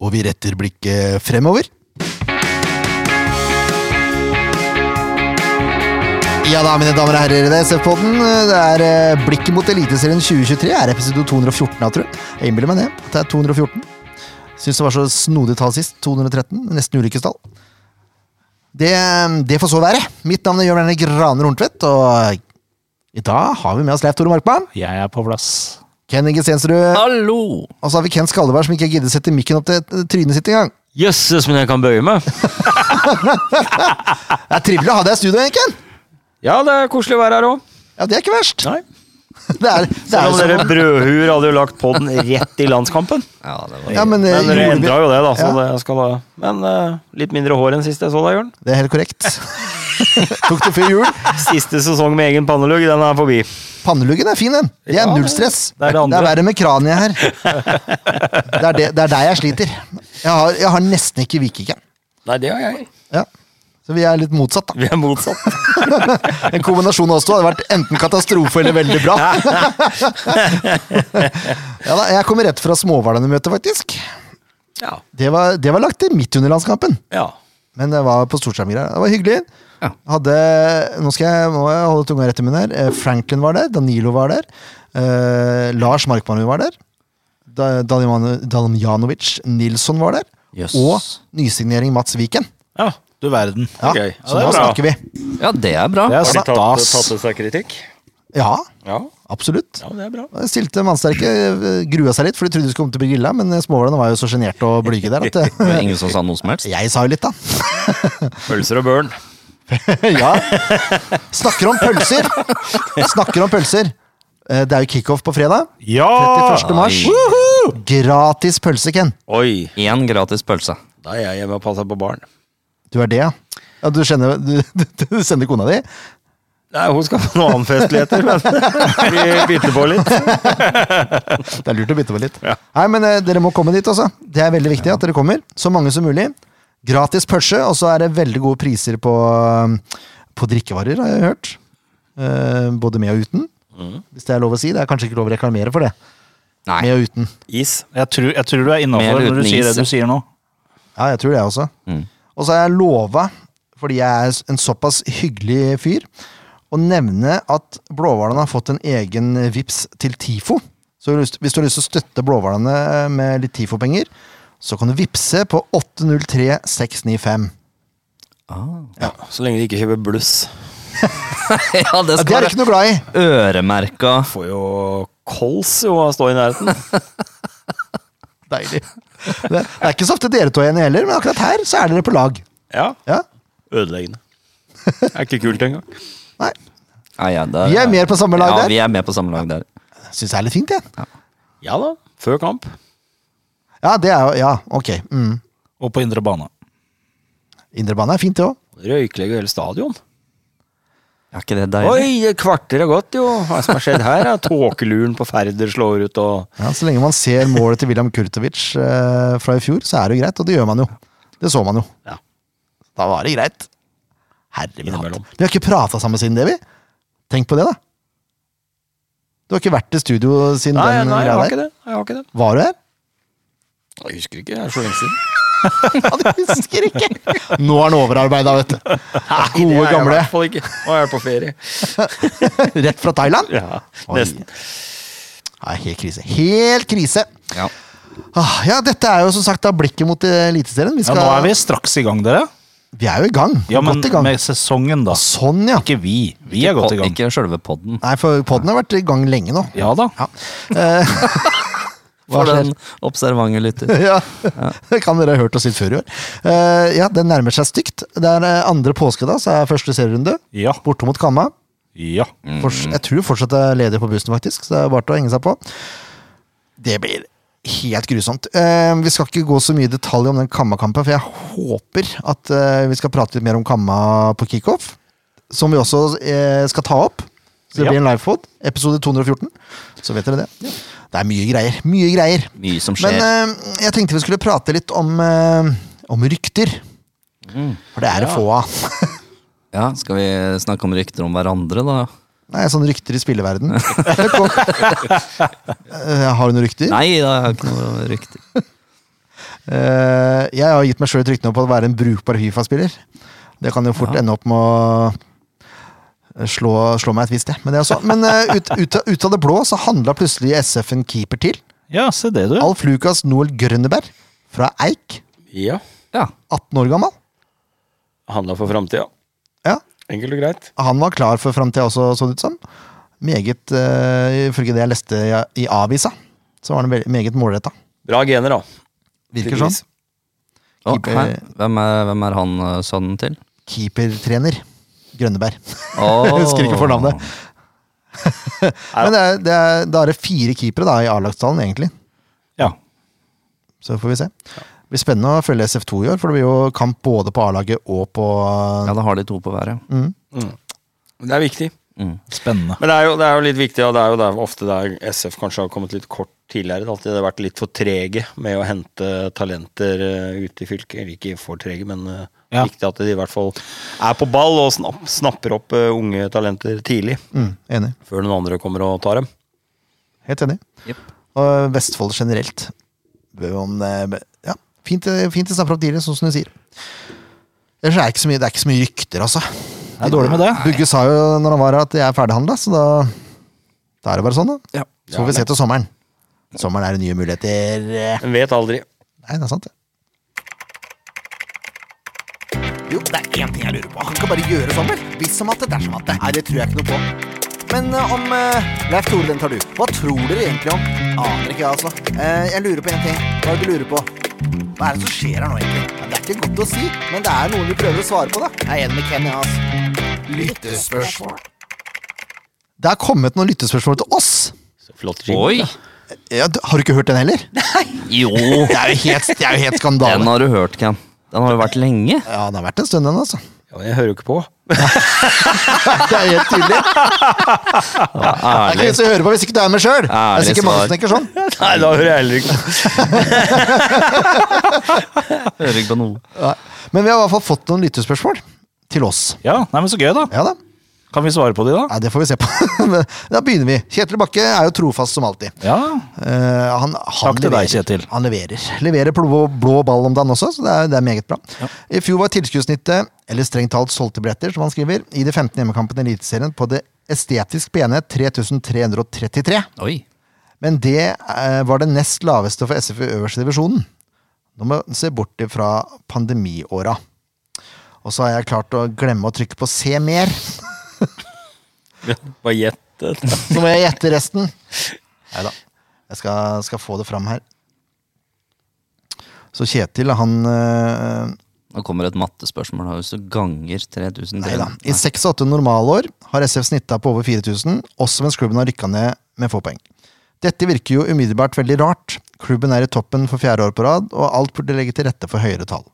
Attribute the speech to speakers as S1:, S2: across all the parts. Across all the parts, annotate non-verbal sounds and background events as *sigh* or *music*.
S1: og vi retter blikket fremover. Ja da, mine damer og herrer, det er SF-podden. Det er eh, Blikket mot Eliteserien 2023 er episode 214 av, tror jeg. Jeg innbiller meg det. at Det er 214. Syns det var så snodig tall sist. 213. Nesten ulykkestall. Det, det får så være. Mitt navn er Jørn Erne Graner Horntvedt, og i dag har vi med oss Leif Tore Markmann,
S2: Jeg er på plass.
S1: Ken Inge Stensrud,
S3: Hallo!
S1: og så har vi Ken Skalleberg, som ikke gidder sette mikken opp til trynet sitt engang.
S3: Jøsses, men jeg kan bøye meg.
S1: Det er trivelig å ha deg i studio, Ken.
S3: Ja, det er koselig å være her òg.
S1: Ja, det er ikke verst.
S3: Nei.
S1: *laughs* Det er, det er
S3: Selv
S1: jo
S3: om
S1: sånn.
S3: dere brødhuer hadde jo lagt podden rett i landskampen.
S1: Ja, men, eh,
S3: Men dere
S1: gjorde vi-
S3: endra jo det, da. Så
S1: Ja.
S3: det skal da Men eh, litt mindre hår enn sist jeg så deg, Jørn.
S1: Det er helt korrekt. *laughs* Tok det før jul.
S3: Siste sesong med egen pannelugg, den er forbi.
S1: Panneluggen er fin, den. Det er
S3: Ja,
S1: null stress.
S3: det er det andre.
S1: verre med kraniet her. Det er, det, det er der jeg sliter. Jeg har, jeg har nesten ikke vikingen.
S3: Nei, det har jeg.
S1: Ja. Så vi er litt motsatt, da.
S3: Vi er motsatt.
S1: En kombinasjon av oss to hadde vært enten katastrofe eller veldig bra. *laughs* Ja da, Jeg kommer rett fra Småhvalene-møtet, faktisk.
S3: Ja.
S1: Det var, det var lagt til midt under landskampen.
S3: ja.
S1: Men det var på Storskjermgreia. Det var hyggelig. Hadde, nå skal jeg, nå må jeg holde tunga rett i munnen her. Eh, Franklin var der. Danilo var der. eh, Lars Markmann var der. Da- Danjano- Danjanovic Nilsson var der.
S4: Jøss.
S1: Og nysignering Mats Viken.
S3: ja.
S2: Du verden.
S1: Ja,
S3: Ok, ja,
S1: så
S3: det er
S1: da
S3: bra.
S1: snakker vi.
S4: Ja, det er bra.
S2: Det er
S3: Har de tatt,
S2: stas.
S3: tatt til seg kritikk?
S1: Ja,
S3: Ja.
S1: absolutt.
S3: ja, det er bra.
S1: Jeg Stilte mannsterke, eh, grua seg litt, for de trodde de skulle komme til å bli grilla, men småhvalene var jo så sjenerte og blyge
S3: *laughs*
S1: der at
S4: Det
S1: eh,
S4: var ingen som sa noe som helst.
S1: Jeg sa jo litt, da.
S3: Pølser og børn.
S1: ja. Snakker om pølser! Snakker om pølser. Eh, Det er jo kickoff på fredag.
S2: Ja!
S1: 31. mars.
S4: Oi.
S1: Gratis pølse, Ken.
S3: Oi,
S4: Én gratis pølse.
S3: da er jeg hjemme og passer på barn.
S1: Du er det, ja. ja du, kjenner, du, du, du sender kona di?
S3: Nei, hun skal på noen annen festligheter, *laughs* men vi bytter på litt.
S1: Det er lurt å bytte på litt. Nei, men eh, Dere må komme dit, altså. Det er veldig viktig at dere kommer. Så mange som mulig. Gratis pølse, og så er det veldig gode priser på, um, på drikkevarer, har jeg hørt. Eh, både med og uten. Hvis det er lov å si. Det er kanskje ikke lov å reklamere for det.
S4: Nei.
S1: Med og uten.
S3: Is.
S2: Jeg tror, jeg tror du er
S4: Mer
S2: innafor når du
S4: uten
S2: sier
S4: is,
S2: det du sier nå.
S1: Ja, jeg tror det også. Og så har jeg lova, fordi jeg er en såpass hyggelig fyr, å nevne at Blåhvalene har fått en egen VIPS til TIFO. Så hvis hvis du har lyst til å støtte Blåhvalene eh, med litt TIFO-penger, så kan du vippse på 803695.
S3: Ja, Så lenge de ikke kjøper bluss.
S4: *laughs* Ja, det
S1: Ja, det
S4: skal
S1: er
S4: være
S1: jeg ikke noe glad i!
S4: øremerka.
S3: Får jo kols jo av å stå i nærheten.
S1: Deilig. *laughs* Det det er ikke så ofte dere to er enige heller, men akkurat her så er dere på lag.
S3: Ja.
S1: Ja?
S3: Ødeleggende. Er ikke kult engang.
S1: Nei.
S4: Ja, ja, det-
S1: Vi er mer på samme lag
S4: ja,
S1: der.
S4: Vi er med på samme lag der.
S1: Syns det er litt fint, jeg. Ja.
S3: Ja da. Før kamp.
S1: ja, det er jo Ja, ok. Mm.
S2: Og på indre bane.
S1: Indrebane er fint, det òg.
S3: Røyklegger hele stadion.
S4: Er ikke det deilig?
S3: Oi, det kvarter er gått, jo. Hva som har skjedd her? er Tåkeluren på Færder slår ut og
S1: Ja, Så lenge man ser målet til William Kurtovic eh, fra i fjor, så er det jo greit. Og det gjør man jo. Det så man jo.
S3: Ja.
S1: Da var det greit. Herre min hatt.
S3: Innimellom.
S1: Vi har ikke prata sammen siden det, vi. Tenk på det, da. Du har ikke vært i studio siden
S3: Nei,
S1: den eh,
S3: nei, jeg
S1: greia
S3: har
S1: der.
S3: ikke det. Jeg har ikke det.
S1: Var du her?
S3: Jeg husker ikke. Det er så lenge siden.
S1: Ja, du husker ikke! Nå er han overarbeida, vet du. Gode,
S3: Det er jeg i
S1: gamle.
S3: hvert fall ikke. Nå er jeg på ferie.
S1: Rett fra Thailand.
S3: Ja,
S1: Oi.
S3: nesten.
S1: Nei, helt krise. Helt krise!
S4: Ja.
S1: Ah, ja, dette er jo som sagt da blikket mot Eliteserien. Vi,
S2: Ja,
S1: skal,
S2: nå er vi straks i gang, dere.
S1: vi er jo i gang.
S2: Ja, men
S1: Godt i gang.
S2: med sesongen, da.
S1: Sånn, ja.
S2: Ikke vi. Vi er godt i gang.
S4: Ikke sjølve podden.
S1: Nei, for podden har vært i gang lenge nå.
S2: Ja da.
S1: Ja. Eh, Hva
S4: For
S1: skjer?
S4: den observante lytter.
S1: *laughs* ja. Det kan dere ha hørt oss litt før i år. Eh, ja, den nærmer seg stygt. Det er eh, andre påske da, så er første serierunde.
S2: Ja.
S1: Borte mot Kamma.
S2: Ja.
S1: Fors jeg tror fortsatt det er ledig på bussen, faktisk. Så det er bare til å henge seg på. Det blir helt grusomt. Eh, vi skal ikke gå så mye i detalj om den Kamma-kampen, for jeg håper at eh, vi skal prate litt mer om Kamma på kickoff. Som vi også eh, skal ta opp. Så det
S2: Ja.
S1: blir en livepod. Episode 214. Så vet dere det. Det er mye greier. Mye greier.
S4: Mye som
S1: Men
S4: skjer.
S1: eh, jeg tenkte vi skulle prate litt om, eh, om rykter. For det er det få av. *laughs*
S4: Ja, skal vi snakke om rykter om hverandre, da?
S1: Nei, sånne rykter i spilleverden. *laughs* Det kom. Eh, Har du noen rykter?
S4: Nei, da, jeg har ikke noe rykter.
S1: Eh, jeg har gitt meg sjøl ryktene på å være en brukbar Fifa-spiller. Det kan jo fort ende opp med å slå, slå meg et visst sted. Men, det er også, men eh, ut, ut, av- ut av det blå så handla plutselig SF en keeper til.
S2: Ja, se det, du.
S1: Alf Lukas Noel Grønneberg fra Eik.
S3: Ja.
S4: Ja.
S1: 18 år gammel.
S3: Handla for framtida.
S1: Ja,
S3: Enkelt og greit.
S1: Han var klar for framtida også, så det ut som. Meget, eh, ifølge det jeg leste i, i avisa, så var han veldig- meget målretta.
S3: Bra gener, da.
S1: Virker sånn.
S4: Å,
S1: Keeper-
S4: hæ? hvem, er, hvem er han eh, sønnen til?
S1: Keepertrener Grønneberg. *laughs*
S4: Oh.
S1: Jeg husker ikke fornavnet. *laughs* Men det er, det er, da er det fire keepere da, i A-lagstallen, egentlig.
S2: Ja.
S1: Så får vi se. Det blir spennende å følge SF2 i år, for det blir jo kamp både på A-laget og på
S4: Ja, da har de to på hver, ja.
S1: Mm.
S3: Det er viktig.
S4: Mm.
S2: Spennende.
S3: Mm. Men det er jo, det er jo litt viktig, og det er jo der, ofte der SF kanskje har kommet litt kort tidligere. Det har alltid vært litt for trege med å hente talenter eh, ute i fylket. Eller ikke for trege, men eh,
S2: Ja.
S3: viktig at de i hvert fall er på ball og snapp, snapper opp eh, unge talenter tidlig.
S1: mm, Enig.
S3: Før noen andre kommer og tar dem.
S1: Helt enig.
S4: Jep.
S1: Og Vestfold generelt. Bør jo om, eh, be- Ja, fint, eh, fint å snakke opp tidligere, sånn som du sier. Ellers er det ikke så mye, det er ikke så mye rykter, altså.
S2: Det er dårlig med det.
S1: Bugge sa jo når han var her at jeg er ferdighandla, så da, da er det bare sånn, da.
S4: Ja.
S1: Så får vi se til sommeren. Sommeren er det nye muligheter. eh,
S3: Men vet aldri.
S1: Nei, det er sant, det. Jo, det er én ting jeg lurer på. Han kan bare gjøre sånn, vel? Hvis som at det dersom at det. Nei, det tror jeg ikke noe på. Men eh, om uh, Leif Tore, den tar du. Hva tror dere egentlig om? Aner ikke, jeg, altså. Eh, jeg lurer på én ting. Hva er det du lurer på? Hva er det som skjer her nå, egentlig? Ja, det er ikke godt å si, men det er noen vi prøver å svare på, da. Jeg er enig med Kenny, altså. Lyttespørsmål. Det er kommet noen lyttespørsmål til oss.
S3: Så Flott jingle.
S4: Oi!
S1: Ja, du- har du ikke hørt den heller?
S4: Jo!
S1: *laughs* Det er jo helt, det er jo helt
S4: Den
S1: skandale.
S4: har du hørt, Cam. Den har jo vært
S1: *laughs*
S4: lenge.
S1: Ja, det har vært en stund, den, altså.
S3: Ja, men jeg hører jo ikke på. *laughs*
S1: Det er helt
S2: *laughs*
S1: tydelig. Det er ikke
S4: Ærlig.
S1: vits i å høre på hvis ikke du er med sjøl. Det er
S4: Ærlig
S1: sikkert mange
S4: svar.
S1: som tenker sånn.
S3: Nei, da hører jeg heller ikke. *laughs*
S4: Hører ikke på noe.
S1: Ja. Men vi har i hvert fall fått noen lyttespørsmål til oss.
S2: Ja, nei, men så gøy, da.
S1: Ja da.
S2: Kan vi svare på de, da?
S1: Nei, det får vi se på. *laughs* Men da begynner vi. Kjetil Bakke er jo trofast som alltid.
S2: Ja.
S1: Eh, han, han
S2: Takk til deg,
S1: leverer.
S2: Kjetil.
S1: Han leverer. Leverer blå, blå ball om dagen også, så det er, det er meget bra. I fjor var tilskuddssnittet, eller strengt talt solgte billetter, som han skriver, i de 15 hjemmekampene i Eliteserien på det estetisk pene 3333.
S4: Oi.
S1: Men det eh, var det nest laveste for SF i øverste divisjonen. Nå må vi se bort fra pandemiåra. Og så har jeg klart å glemme å trykke på 'se mer'.
S3: Bare gjett. det.
S1: Så må jeg gjette resten. Nei da. Jeg skal, skal få det fram her. Så Kjetil, han eh,
S4: Nå kommer et mattespørsmål. Hvis du ganger 3000
S1: Nei da. I seks og åtte normalår har SF snitta på over 4000, også mens klubben har rykka ned med få poeng. Dette virker jo umiddelbart veldig rart. Klubben er i toppen for fjerde år på rad, og alt burde legge til rette for høyere tall.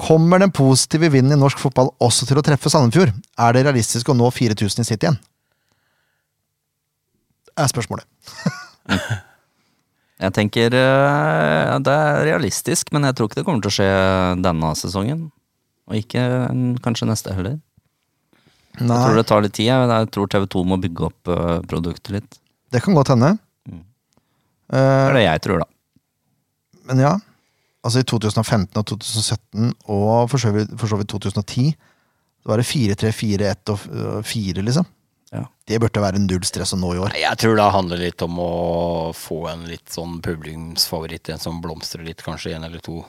S1: Kommer den positive vinden i norsk fotball også til å treffe Sandefjord? Er det realistisk å nå 4000 i sitt igjen? Det er spørsmålet.
S4: Jeg tenker eh, det er realistisk, men jeg tror ikke det kommer til å skje denne sesongen. Og ikke eh, kanskje neste heller. Jeg tror
S1: Nei,
S4: det tar litt tid. Jeg Jeg tror TV2 må bygge opp eh, produktet litt.
S1: det kan godt hende.
S4: Det
S1: Eh,
S4: er det jeg tror, da.
S1: Men ja, altså i 2015 og 2017 og for så vidt, for så vidt 2010, så var det 4, 3, 4, 1 og øh, 4, liksom.
S4: Ja.
S1: Det burde være null stress å nå i år.
S3: Nei, Jeg tror det handler litt om å få en litt sånn publikumsfavoritt, en som blomstrer litt, kanskje en eller to,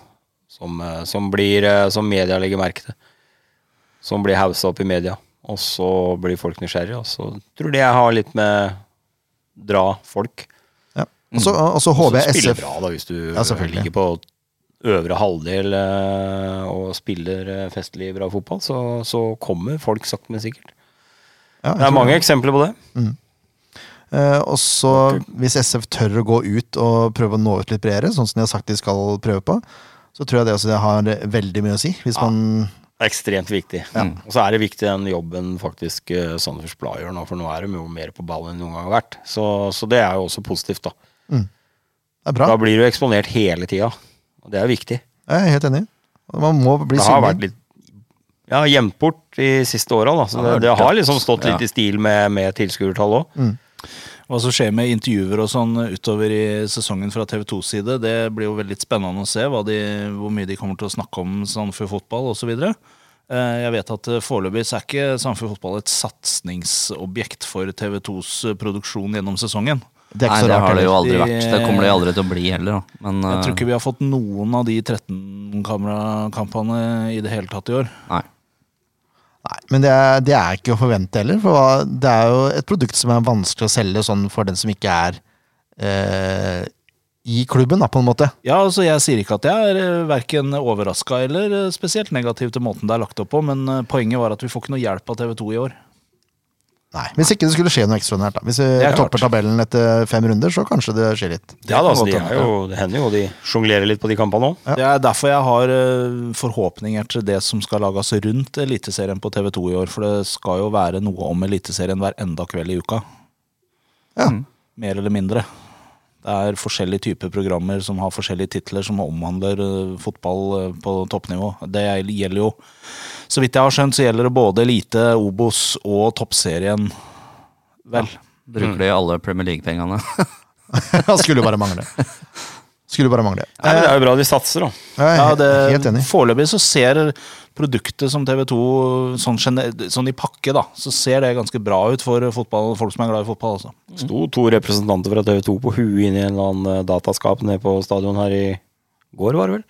S3: som, eh, som blir eh, Som media legger merke til. Som blir haussa opp i media. Og så blir folk nysgjerrige, og så tror de jeg har litt med dra folk.
S1: Ja. Og så- Og
S4: Mm.
S1: så håper jeg
S3: spiller
S1: SF
S3: bra, da, hvis du
S1: Ja, selvfølgelig.
S3: ligger på øvre halvdel eh, og spiller eh, festlig bra fotball, så, så kommer folk sakte, men sikkert.
S1: ja, jeg tror
S3: Det er mange eksempler på det.
S1: Eh, Og så hvis SF tør å gå ut og prøve å nå ut litt bredere, sånn som de har sagt de skal prøve på, så tror jeg det også det har veldig mye å si. Hvis man
S3: Det er ekstremt viktig. Mm. Og så er det viktig den jobben faktisk eh, Sandefjords Blad gjør nå, for nå er de jo mer på ballen enn noen gang har vært. Så, så det er jo også positivt, da.
S1: Det er bra.
S3: Da blir du eksponert hele tida, og det er viktig.
S1: Jeg er helt enig. Man må bli
S3: Det har
S1: synlig.
S3: vært litt ja, gjemt bort de siste åra, da. Så det, det har liksom stått litt i stil med, med tilskuertall òg.
S2: Hva som skjer med intervjuer og sånn utover i sesongen fra TV 2s side, det blir jo veldig spennende å se hva de, hvor mye de kommer til å snakke om Sandefjord fotball osv. Jeg vet at eh, foreløpig så er ikke Sandefjord fotball et satsingsobjekt for TV 2s eh, produksjon gjennom sesongen.
S1: Det er ikke
S4: Nei,
S1: så
S4: det har
S1: rart.
S4: det jo
S1: heller.
S4: aldri vært. Det kommer det jo aldri til å bli heller, da. Men
S2: Jeg tror
S4: eh,
S2: ikke vi har fått noen av de 13 kamerakampene i det hele tatt i år.
S4: nei.
S1: Nei, men det er, det er ikke å forvente heller. For hva- det er jo et produkt som er vanskelig å selge sånn for den som ikke er eh, i klubben, da, på en måte.
S2: Ja, altså Jeg sier ikke at jeg er eh, verken overraska eller eh, spesielt negativ til måten det er lagt opp på, men eh, poenget var at vi får ikke noe hjelp av TV 2 i år.
S1: Nei, Hvis ikke det skulle skje noe ekstraordinært. da. Hvis vi
S2: Det er klart.
S1: topper tabellen etter fem runder, så kanskje det skjer litt. *laughs*
S2: Det kan
S3: Ja da, så
S2: godt
S3: de
S2: hende.
S3: er jo, det hender jo de sjonglerer litt på de kampene òg.
S2: Det er derfor jeg har eh, forhåpninger til det som skal lages rundt Eliteserien på TV 2 i år. For det skal jo være noe om Eliteserien hver enda kveld i uka.
S1: Ja.
S2: Mer eller mindre. Det er forskjellige typer programmer som har forskjellige titler som omhandler eh, fotball eh, på toppnivå. Det gjelder jo Så vidt jeg har skjønt, så gjelder det både Elite, Obos og Toppserien. Vel. Mm.
S4: Bruker de alle Premier League-pengene?
S1: skulle jo bare mangle. Skulle bare mangle.
S3: Nei, men det er jo bra de satser, da.
S1: Jeg er
S2: Ja,
S1: he- helt
S2: det,
S1: enig.
S2: foreløpig så ser produktet som TV 2 sånn, gene- sånn i pakke, da, så ser det ganske bra ut for fotball, folk som er glad i fotball. Altså.
S3: Sto to representanter fra TV 2 på huet inn i en eller annen eh, dataskap nede på stadion her i går, var det vel?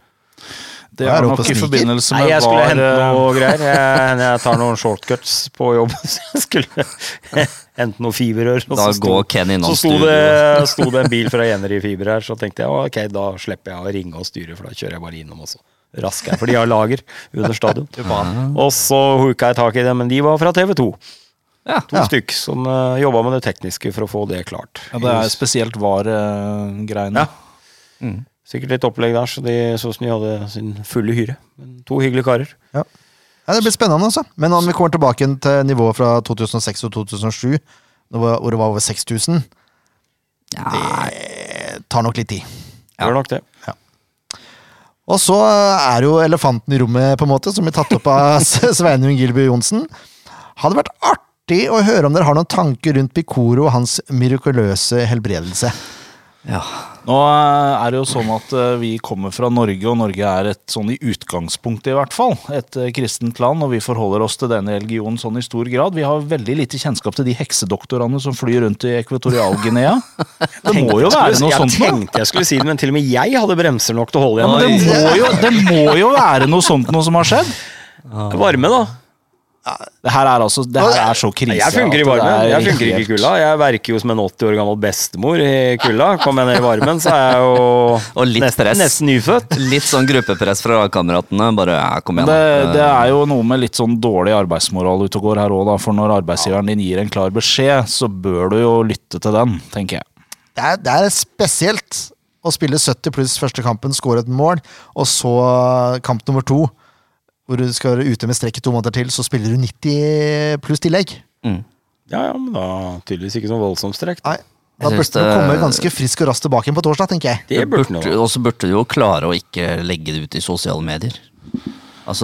S2: Det
S1: Hva er
S2: er
S1: det
S2: nok
S1: oppe og
S2: i
S1: sniker?
S2: forbindelse
S3: Nei,
S2: med
S3: jeg skulle
S2: var,
S3: hente
S2: eh,
S3: noe
S2: *laughs*
S3: greier. Jeg, jeg tar noen shortcuts på jobb. *laughs* Så jeg skulle hente noe fiberrør. og
S4: Da
S3: så sto-
S4: går Ken innom
S3: Så sto
S4: studio.
S3: det, sto det en bil
S4: *laughs*
S3: fra Jener i fiber her, så tenkte jeg ok, da slipper jeg å ringe og styre, for da kjører jeg bare innom også. Rask her, for de har lager under
S4: *laughs*
S3: stadion. Og så hooka jeg tak i det, men de var fra TV 2.
S4: Ja.
S3: To stykk som uh, jobba med det tekniske for å få det klart.
S2: ja, det er spesielt eh, VAR-greiene.
S3: Ja. Sikkert litt opplegg der, så de så ut som de hadde sin fulle hyre. Men to hyggelige karer.
S1: Ja. Ja, det blir spennende, altså. Men om vi kommer tilbake igjen til nivået fra 2006 og 2007, det var- hvor det var over 6000, det tar nok litt tid.
S3: Gjør nok det.
S1: Og så er det jo elefanten i rommet, på en måte, som blir tatt opp
S4: *laughs*
S1: av S- Sveinung Gilby Johnsen. Hadde vært artig å høre om dere har noen tanker rundt Picoro og hans mirakuløse helbredelse.
S4: Ja. *laughs*
S2: Nå eh, er det jo sånn at eh, vi kommer fra Norge, og Norge er et sånn i utgangspunktet i hvert fall, et eh, kristent land, og vi forholder oss til denne religionen sånn i stor grad. Vi har veldig lite kjennskap til de heksedoktorene som flyr rundt i Ekvatorial-Guinea.
S3: *laughs*
S2: Det må jo være noe
S3: jeg
S2: sånt noe.
S3: tenkte jeg skulle si det, men til og med jeg hadde bremser nok til å holde
S2: Ja, men
S3: igjen.
S2: det må, jo, det må jo være noe sånt noe som har skjedd.
S3: i varme, da.
S2: Det her er, altså, det her er så krise.
S3: jeg funker i
S2: at det
S3: varmen.
S2: er
S3: Jeg funker ikke i
S2: helt-
S3: kulda. Jeg verker jo som en 80 år gammel bestemor i kulda. Kommer jeg ned i varmen, så er jeg jo
S4: *laughs* Og litt
S3: nesten,
S4: stress.
S3: nesten nyfødt.
S4: Litt sånn gruppepress fra kameratene. Bare ja, kom igjen.
S2: Det,
S4: da.
S2: det er jo noe med litt sånn dårlig arbeidsmoral ute og går her òg, da. For når arbeidsgiveren din gir en klar beskjed, så bør du jo lytte til den, tenker jeg.
S1: Det er, det er spesielt å spille 70 pluss første kampen, score et mål, og så kamp nummer to, hvor du skal være ute med strekk i to måneder til, så spiller du 90 pluss tillegg.
S4: Eh, mm.
S3: Ja, ja, men da tydeligvis ikke så voldsomt strekt.
S1: Nei, da
S4: Jeg
S1: burde
S4: synes
S1: du
S4: det-
S1: komme ganske frisk og raskt tilbake igjen på torsdag, tenker jeg.
S3: Det burde nå.
S4: Og så burde du jo klare å ikke legge det ut i sosiale medier. Altså,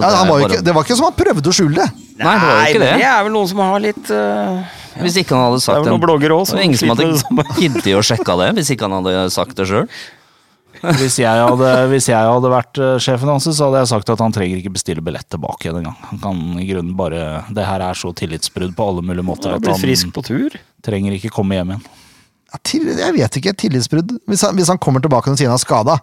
S1: Ja,
S4: det er
S1: han var jo
S4: bare-
S1: ikke, det var ikke som han prøvde å skjule det.
S4: Nei, det var jo ikke
S3: men
S4: det.
S3: det er vel noen som har litt eh,
S4: Hvis ikke han hadde sagt
S3: Det er vel noen bloggere også
S4: Det var ingen som
S3: som sliter med
S4: hadde *laughs* giddet å sjekke det hvis ikke han hadde sagt det sjøl.
S2: Hvis jeg hadde, hvis jeg hadde vært eh, sjefen hans, så hadde jeg sagt at han trenger ikke bestille billett tilbake igjen engang. Han kan i grunnen bare Det her er så tillitsbrudd på alle mulige måter
S3: Han har
S2: at
S3: blitt frisk
S2: han
S3: på tur.
S2: trenger ikke komme hjem igjen.
S1: Ja, til, jeg vet ikke, tillitsbrudd. Hvis han, hvis han kommer tilbake og sier han er skada,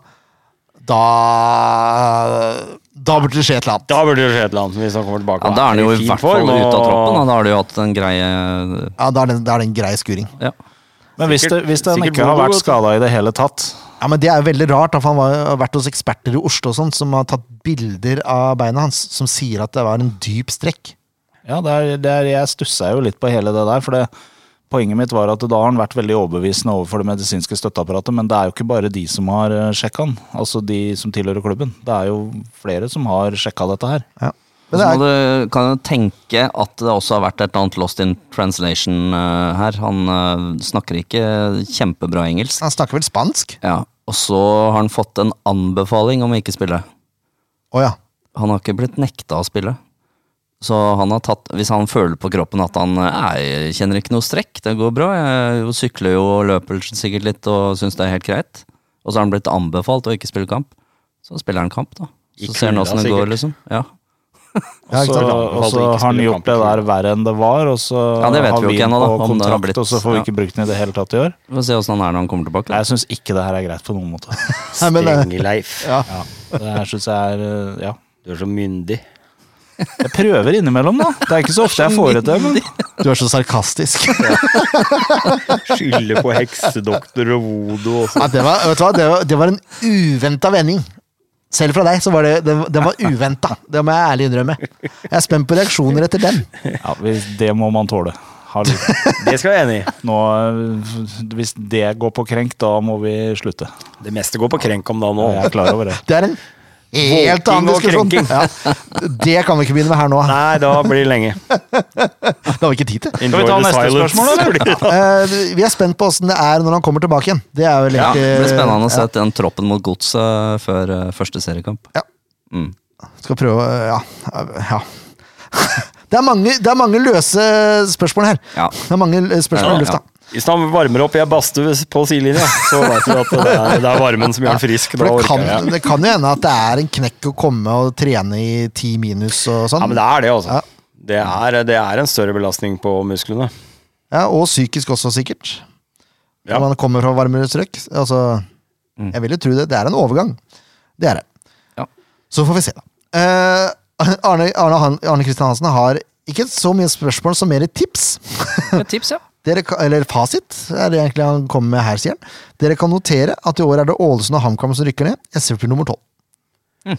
S1: da Da burde det skje et eller annet.
S3: Da burde det skje et eller annet hvis han kommer tilbake.
S4: Ja,
S3: og
S4: da er han jo i
S3: fin
S4: hvert fall
S3: form,
S4: ute av
S3: og-
S4: troppen. Da. da har du jo hatt en greie
S1: Ja, Da er det, da er det en grei skuring.
S4: Ja.
S2: Men hvis,
S3: Sikkert-
S2: det, hvis den
S3: sikkert
S2: ikke har
S3: Bodo,
S2: vært
S3: vet du.
S2: skada i det hele tatt,
S1: Ja, men Det er jo veldig rart, da, for han var, har vært hos eksperter i Oslo og sånt, som har tatt bilder av beina hans, som sier at det var en dyp strekk.
S2: Ja, det er, det er, jeg stussa jo litt på hele det der. for det Poenget mitt var at da har han vært veldig overbevisende overfor det medisinske støtteapparatet, men det er jo ikke bare de som har eh, sjekka han, altså de som tilhører klubben. Det er jo flere som har sjekka dette her.
S1: Ja.
S4: Og
S1: Men
S4: Så
S1: det
S4: må
S1: er,
S4: du, kan jo tenke at det også har vært et eller annet lost in translation eh, her. Han eh, snakker ikke kjempebra engelsk.
S1: han snakker vel spansk?
S4: Ja, Og så har han fått en anbefaling om å ikke spille.
S1: Å ja.
S4: Han har ikke blitt nekta å spille. Så han har tatt, hvis han føler på kroppen at han eh, jeg kjenner ikke noe strekk, det går bra, jeg jo sykler jo og løper sikkert litt og syns det er helt greit, og så har han blitt anbefalt å ikke spille kamp, så spiller han kamp, da.
S3: I
S4: Så ser han
S3: kulda,
S4: åssen det
S3: sikkert.
S4: går, liksom. Ja.
S1: Ja,
S2: Og
S1: ikke
S2: så
S1: sant?
S2: og så har han gjort det der verre enn det var, og så
S4: Ja, det vet
S2: har
S4: vi jo
S2: vi
S4: ikke
S2: den
S4: ennå, da,
S2: på
S4: om det har
S2: kontrakt,
S4: blitt-
S2: og så får vi
S4: ja.
S2: ikke brukt den i det hele tatt i år.
S4: Vi får se åssen han er når han kommer tilbake. Da.
S2: Nei, Jeg syns ikke det her er greit på noen måte.
S1: Nei, men, eh,
S3: Strenge-Leif.
S1: ja.
S2: Ja, det her synes jeg er eh, Ja.
S3: Du er så myndig.
S2: Jeg prøver innimellom, da. Det er ikke så ofte jeg får det til,
S4: *laughs*
S2: men
S1: Du er så sarkastisk.
S3: Skylder på
S1: *laughs*
S3: heksedoktor og vodo og
S1: Ja, det, var, vet du hva? Det, var, det var en uventa vending. Selv fra deg så var det, det, det var uventa. Det må jeg ærlig innrømme. Jeg er spent på reaksjoner etter den.
S2: ja, hvis- det må man tåle. Hallo.
S3: Det skal jeg være enig i.
S2: Nå, eh, hvis det går på krenk, da må vi slutte.
S3: Det meste går på krenk om da nå.
S2: Jeg er klar over det.
S1: Det er en helt annen
S3: Våking og
S1: diskusjon. Ja, det kan vi ikke begynne med her nå.
S3: Nei, da blir det lenge.
S1: Det har vi ikke tid til.
S3: Enjoy
S2: vi
S3: the
S2: ta neste
S3: silence.
S2: spørsmål, eller?
S3: Blir det-
S1: Eh, vi er spent på åssen det er når han kommer tilbake igjen. Det er vel
S4: Ja, det blir
S1: egentlig
S4: spennende å se den troppen mot godset før eh, første seriekamp.
S1: Ja.
S4: Mm.
S1: Skal prøve å Ja. ja. *laughs* Det, er mange, det er mange løse spørsmål her.
S4: Ja.
S1: Det er mange eh, spørsmål i lufta.
S3: Hvis han varmer opp i ei badstue på sidelinja, så vet vi at det er, det er varmen som gjør han frisk. Da
S1: For det
S3: orker
S1: kan,
S3: jeg.
S1: det kan jo hende at det er en knekk å komme og trene i ti minus og sånn.
S3: Ja, men det er det,
S1: Ja.
S3: altså. Det er, det er en større belastning på musklene.
S1: Ja, og psykisk også, sikkert.
S3: Ja.
S1: Når
S3: Mm.
S1: man kommer fra varmere strøk. Altså, Jeg vil jo tro det. Det er en overgang. Det er det.
S4: Ja.
S1: Så får vi se, da. Eh, Arne, Arne, Han- Arne Kristian Hansen har ikke så mye spørsmål som mer tips. *laughs*
S4: Et tips, ja.
S1: Dere, ka- eller fasit, er det egentlig han kommer med her, sier han. Dere kan notere at i år er det Ålesund og HamKam som rykker ned. SF blir nummer tolv.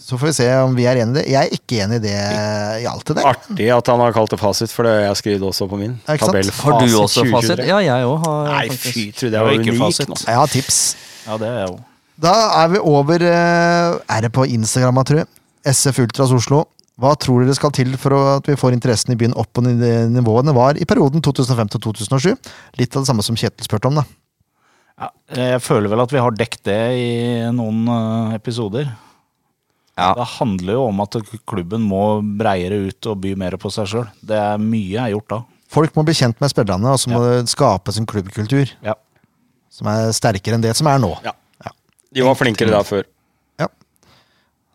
S1: Så får vi se om vi er enig i det. Jeg er ikke enig i det i alt det der.
S3: Artig at han har kalt det fasit, for det har jeg skrevet også på min.
S1: Ja, ikke sant?
S3: Tabell
S4: Har du også
S3: 2023.
S4: fasit? Ja, jeg òg har
S3: Nei,
S4: faktisk.
S3: fy, trodde jeg
S2: Det var
S3: var
S2: ikke
S3: unik.
S2: fasit.
S3: nå.
S1: Jeg har tips.
S2: *laughs* Ja, det er jeg jo.
S1: Da er vi over eh, Er det på Instagram, jeg tror jeg? SF Ultras Oslo. Hva tror dere skal til for at vi får interessen i byen opp på niv- nivåene var i perioden 2005-2007? Litt av det samme som Kjetil spurte om, da.
S2: Ja, jeg føler vel at vi har dekt det i noen eh, episoder.
S4: Ja.
S2: Det handler jo om at klubben må breiere ut og by mer på seg sjøl. Det er mye er gjort da.
S1: Folk må bli kjent med spillerne, og så må det skapes en klubbkultur
S2: Ja.
S1: som er sterkere enn det som er nå.
S3: Ja. De var flinkere da før.
S1: Ja.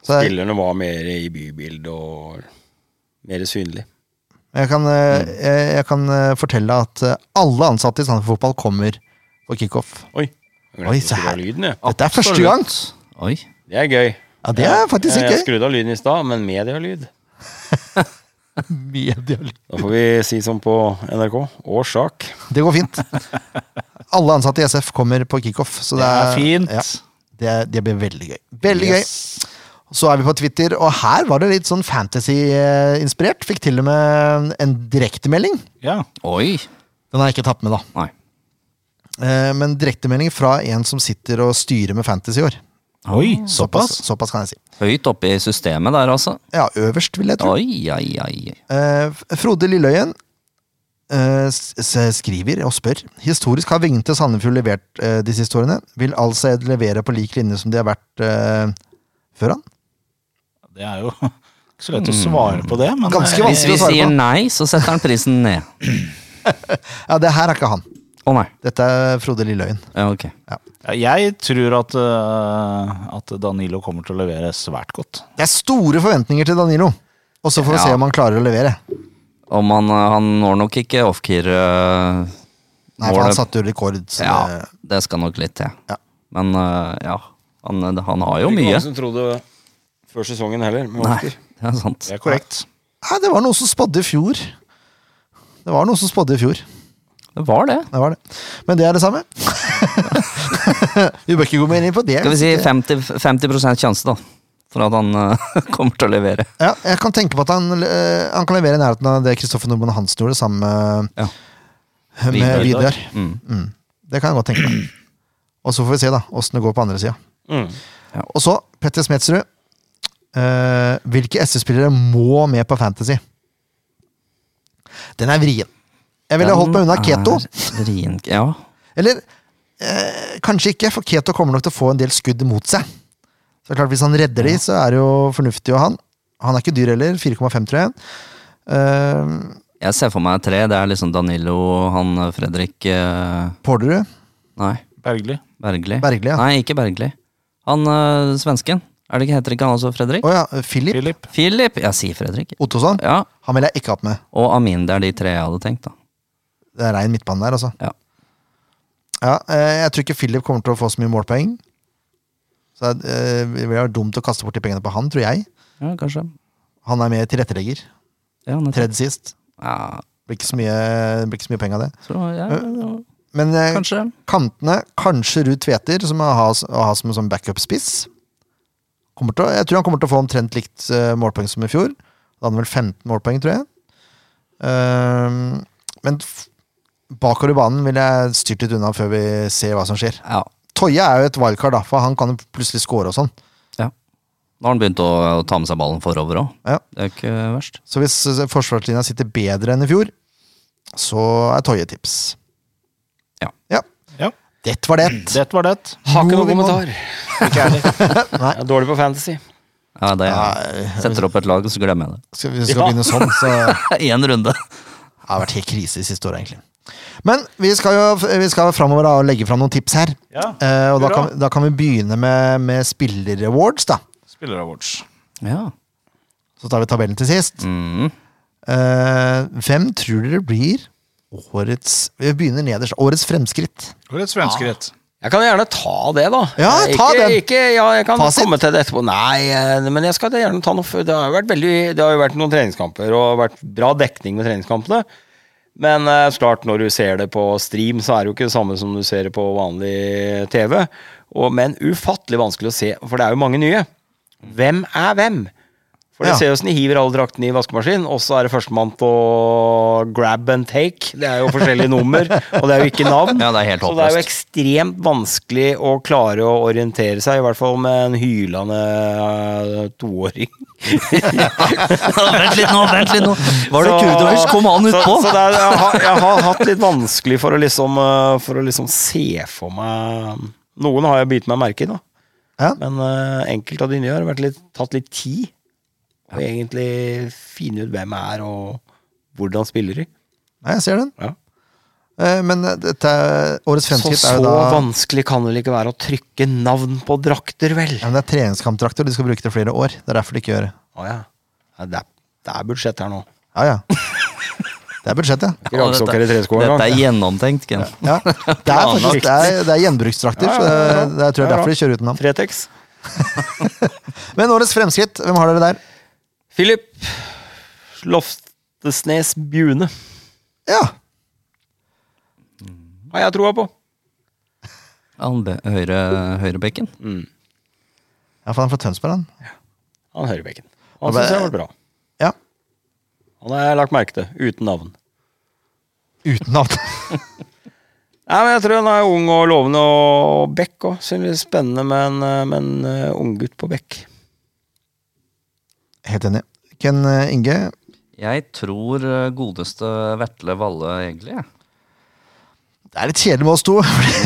S1: Så jeg,
S3: Spillerne var mer i bybildet og mer synlig.
S1: jeg, kan, eh, jeg, jeg kan eh, fortelle at eh, alle ansatte i Sandefjord Fotball kommer på kickoff.
S3: Oi, jeg glemte
S1: Oi,
S3: å
S1: se
S3: skru av
S1: her.
S3: Lyden, jeg.
S1: Dette er første gang!
S4: Oi.
S3: Det er gøy.
S1: Ja, det er faktisk
S3: Jeg- Jeg
S1: ikke gøy.
S3: skrudde av lyden i stad, men medialyd.
S1: Medial-
S3: Da får vi si som på NRK. Årsak.
S1: Det går fint. Alle ansatte i SF kommer på kickoff. Så det,
S2: Det er fint.
S1: Ja, det, det blir veldig gøy. Veldig
S2: Yes.
S1: gøy. Så er vi på Twitter, og her var det litt sånn fantasy-inspirert. Fikk til og med en direktemelding.
S2: Ja.
S4: Oi.
S1: Den har jeg ikke tatt med, da.
S4: Nei.
S1: Eh, Men direktemelding fra en som sitter og styrer med fantasy i år.
S2: Oi,
S1: Såpass, såpass kan jeg si.
S4: Høyt oppe i systemet der, altså.
S1: Ja, øverst, vil jeg tro.
S4: Oi, oi, oi.
S1: Eh, Frode Lilleøyen eh, s- s- skriver og spør Historisk har Vingen til Sandefjord levert eh, de siste årene. Vil altså levere på lik linje som de har vært eh, før han?
S2: Det er jo *laughs* ikke så lett å svare på det, men
S1: Ganske
S2: eh,
S4: Hvis vi
S1: å svare
S4: sier
S1: på.
S4: nei, så setter han prisen ned.
S1: Ja, det her er ikke han.
S4: Å nei.
S1: Dette er Frode Lilleøyen.
S4: Ja, ok.
S2: jeg tror at, eh, at Danilo kommer til å levere svært godt.
S1: Det er store forventninger til Danilo. Og så får vi
S4: Ja.
S1: se om han klarer å levere.
S4: Om han, eh, han når nok ikke off-keer eh,
S1: Nei, for han
S4: målet.
S1: satte jo rekord. Så
S4: Ja,
S1: det,
S4: det skal nok litt til.
S1: Ja.
S4: Men eh, ja, han, eh, han har jo
S3: Det er Ikke
S4: mye.
S3: mange som trodde før sesongen heller. Men
S4: Nei,
S3: Oscar.
S4: det er sant.
S2: Det er korrekt.
S1: Nei, det var noe som spådde i fjor. Det var noe som spådde i fjor.
S4: Det var det.
S1: Det var det. Men det er det samme. *laughs* vi bør ikke gå mer inn på det.
S4: Skal vi si 50, 50 sjanse, da. For at han eh, *laughs* kommer til å levere.
S1: Ja, jeg kan tenke på at han, eh, han kan levere i nærheten av det Kristoffer Nordmann Hansen gjorde sammen med,
S4: Ja.
S1: med
S4: Vidar.
S1: Vidar.
S4: Mm.
S1: Mm. Det kan jeg godt tenke meg. Og så får vi se da, åssen det går på andre sida.
S3: Mm.
S1: Og så Petter Smetsrud. Eh, hvilke SS-spillere må med på Fantasy? Den er vrien. Jeg ville holdt meg unna
S4: Den
S1: Keto.
S4: er vrien. Ja.
S1: Eller eh, kanskje ikke, for Keto kommer nok til å få en del skudd mot seg. Så det er klart, Hvis han redder de, så er det jo fornuftig å ha han. Han er ikke dyr heller. 4,5, tror jeg. Eh,
S4: Jeg ser for meg tre. Det er liksom Danilo, han eh, Fredrik eh,
S1: Porderud,
S4: Nei,
S2: Bergli.
S4: Bergli.
S1: Bergli, ja.
S4: Nei, ikke Bergli. Han eh, svensken. Er det ikke, heter ikke han også Fredrik?
S1: Å ja, Philip
S2: Filip.
S4: Filip! Jeg sier Fredrik.
S1: Ottosson.
S4: Ja,
S1: Han vil jeg ikke ha opp med.
S4: Og Amin. Det er de tre jeg hadde tenkt, da.
S1: Det er rein midtbane der, altså.
S4: Ja.
S1: Ja, eh, jeg tror ikke Philip kommer til å få så mye målpoeng. Så det eh, det ville vært dumt å kaste bort de pengene på han, tror jeg.
S4: Ja, kanskje.
S1: Han er mer tilrettelegger.
S4: Ja, nettopp.
S1: Tredje sist.
S4: Ja,
S1: Blir ikke så mye, blir ikke så mye penger av det.
S4: så, ja,
S1: Men eh,
S4: kanskje.
S1: kantene, kanskje Ruud Tveter, som å ha, å ha som en sånn backup-spiss. Kommer til å- Jeg tror han kommer til å få omtrent likt eh, målpoeng som i fjor. Da hadde han vel 15 målpoeng, tror jeg. Ehm, men f- bakover i banen vil jeg styrt litt unna før vi ser hva som skjer.
S4: Ja.
S1: Toye er jo et wildcard, da, for han kan jo plutselig score og sånn.
S4: Nå har han begynt å, å ta med seg ballen forover òg.
S1: Ja.
S4: Det er ikke verst.
S1: Så hvis eh, forsvarslinja sitter bedre enn i fjor, så er Toye tips.
S4: Ja.
S2: Ja.
S1: Det var det.
S2: Det var det.
S3: Har ikke
S1: Nå
S3: noe
S1: vil man- *laughs*
S3: kommentar.
S1: Nei.
S3: Jeg er dårlig på fantasy.
S4: Ja, det er,
S1: Nei,
S4: setter opp et lag, og så glemmer jeg det.
S1: skal, hvis vi skal begynne sånn, så
S4: *laughs* Én runde.
S1: Det har vært helt krise de siste åra, egentlig. Men vi skal jo vi skal framover og legge fram noen tips her.
S2: Ja,
S1: Eh, og da
S2: hurra.
S1: kan, da kan vi begynne med, med spiller-awards, da.
S2: Spiller awards.
S4: Ja. *laughs*
S1: Så tar vi tabellen til sist.
S4: Mm.
S1: Eh, hvem tror dere blir årets Vi begynner nederst. Årets fremskritt.
S2: Årets svenskeritt.
S3: Jeg kan gjerne ta det, da.
S1: Ja,
S3: Eh,
S1: ta
S3: ikke,
S1: den.
S3: Ikke, ja, jeg kan
S1: Fasit.
S3: komme til det etterpå. Nei, eh, men jeg skal gjerne ta noe før. Det har jo vært, veldig, det har jo vært noen treningskamper, og vært bra dekning med treningskampene. Men eh, så klart, når du ser det på stream, så er det jo ikke det samme som du ser det på vanlig TV. Og, men ufattelig vanskelig å se, for det er jo mange nye. Hvem er hvem? For det
S1: Ja.
S3: ser jo hvordan de hiver alle draktene i vaskemaskinen, og så er det førstemann til å grab and take. Det er jo forskjellige nummer, og det er jo ikke navn.
S4: Ja, det er helt
S3: så det er jo
S4: håpløst.
S3: ekstremt vanskelig å klare å orientere seg, i hvert fall med en hylende eh, toåring.
S4: vent litt nå, vent litt nå! Var det
S3: Så-
S4: Kudovic? Kom han
S3: så-
S4: utpå?
S3: Så det er, jeg, har, jeg har hatt litt vanskelig for å liksom, eh, for å liksom se for meg Noen har jeg bitt meg merke i, da.
S1: Ja.
S3: Men eh, enkelte av de nye har vært litt, tatt litt tid. Og egentlig finne ut hvem jeg er, og hvordan spiller de.
S1: Nei, jeg ser den.
S3: Ja.
S1: Eh, men dette, er- årets
S3: Så,
S1: fremskritt
S3: så
S1: er jo da
S3: vanskelig kan det vel ikke være å trykke navn på drakter, vel?
S1: ja, men Det er treningskampdrakter, de skal bruke det flere år. Det er derfor de ikke gjør det.
S3: Å ja. Ja, Det er, det er budsjett her nå.
S1: Ja, ja. Det er budsjettet.
S3: Ikke raggsokker i treskoene
S4: dette er
S3: engang.
S4: gjennomtenkt, Ken.
S1: Ja.
S3: *laughs*
S1: Det er faktisk det er, det er gjenbruksdrakter, så det, det, jeg tror det er
S3: Ja, ja.
S1: derfor de kjører utenom.
S3: Fretex.
S1: Men årets fremskritt, hvem har dere der?
S3: Philip Loftesnes Bjune
S1: Ja,
S3: har jeg troa på.
S4: Han be- Høyre, høyrebekken.
S1: ja for han er fra Tønsberg, han.
S3: Han høyrebekken. Han syns jeg har vært bra.
S1: Ja.
S3: Han har jeg lagt merke til. Uten navn.
S1: Uten navn. *laughs*
S3: Nei, men Jeg tror han er ung og lovende, og Beck òg. Synes spennende med en, eh, med en eh, unggutt på Beck.
S1: Helt enig. Ken eh, Inge,
S4: Jeg tror eh, godeste Vetle Valle, egentlig. jeg.
S1: det er litt kjedelig med oss to.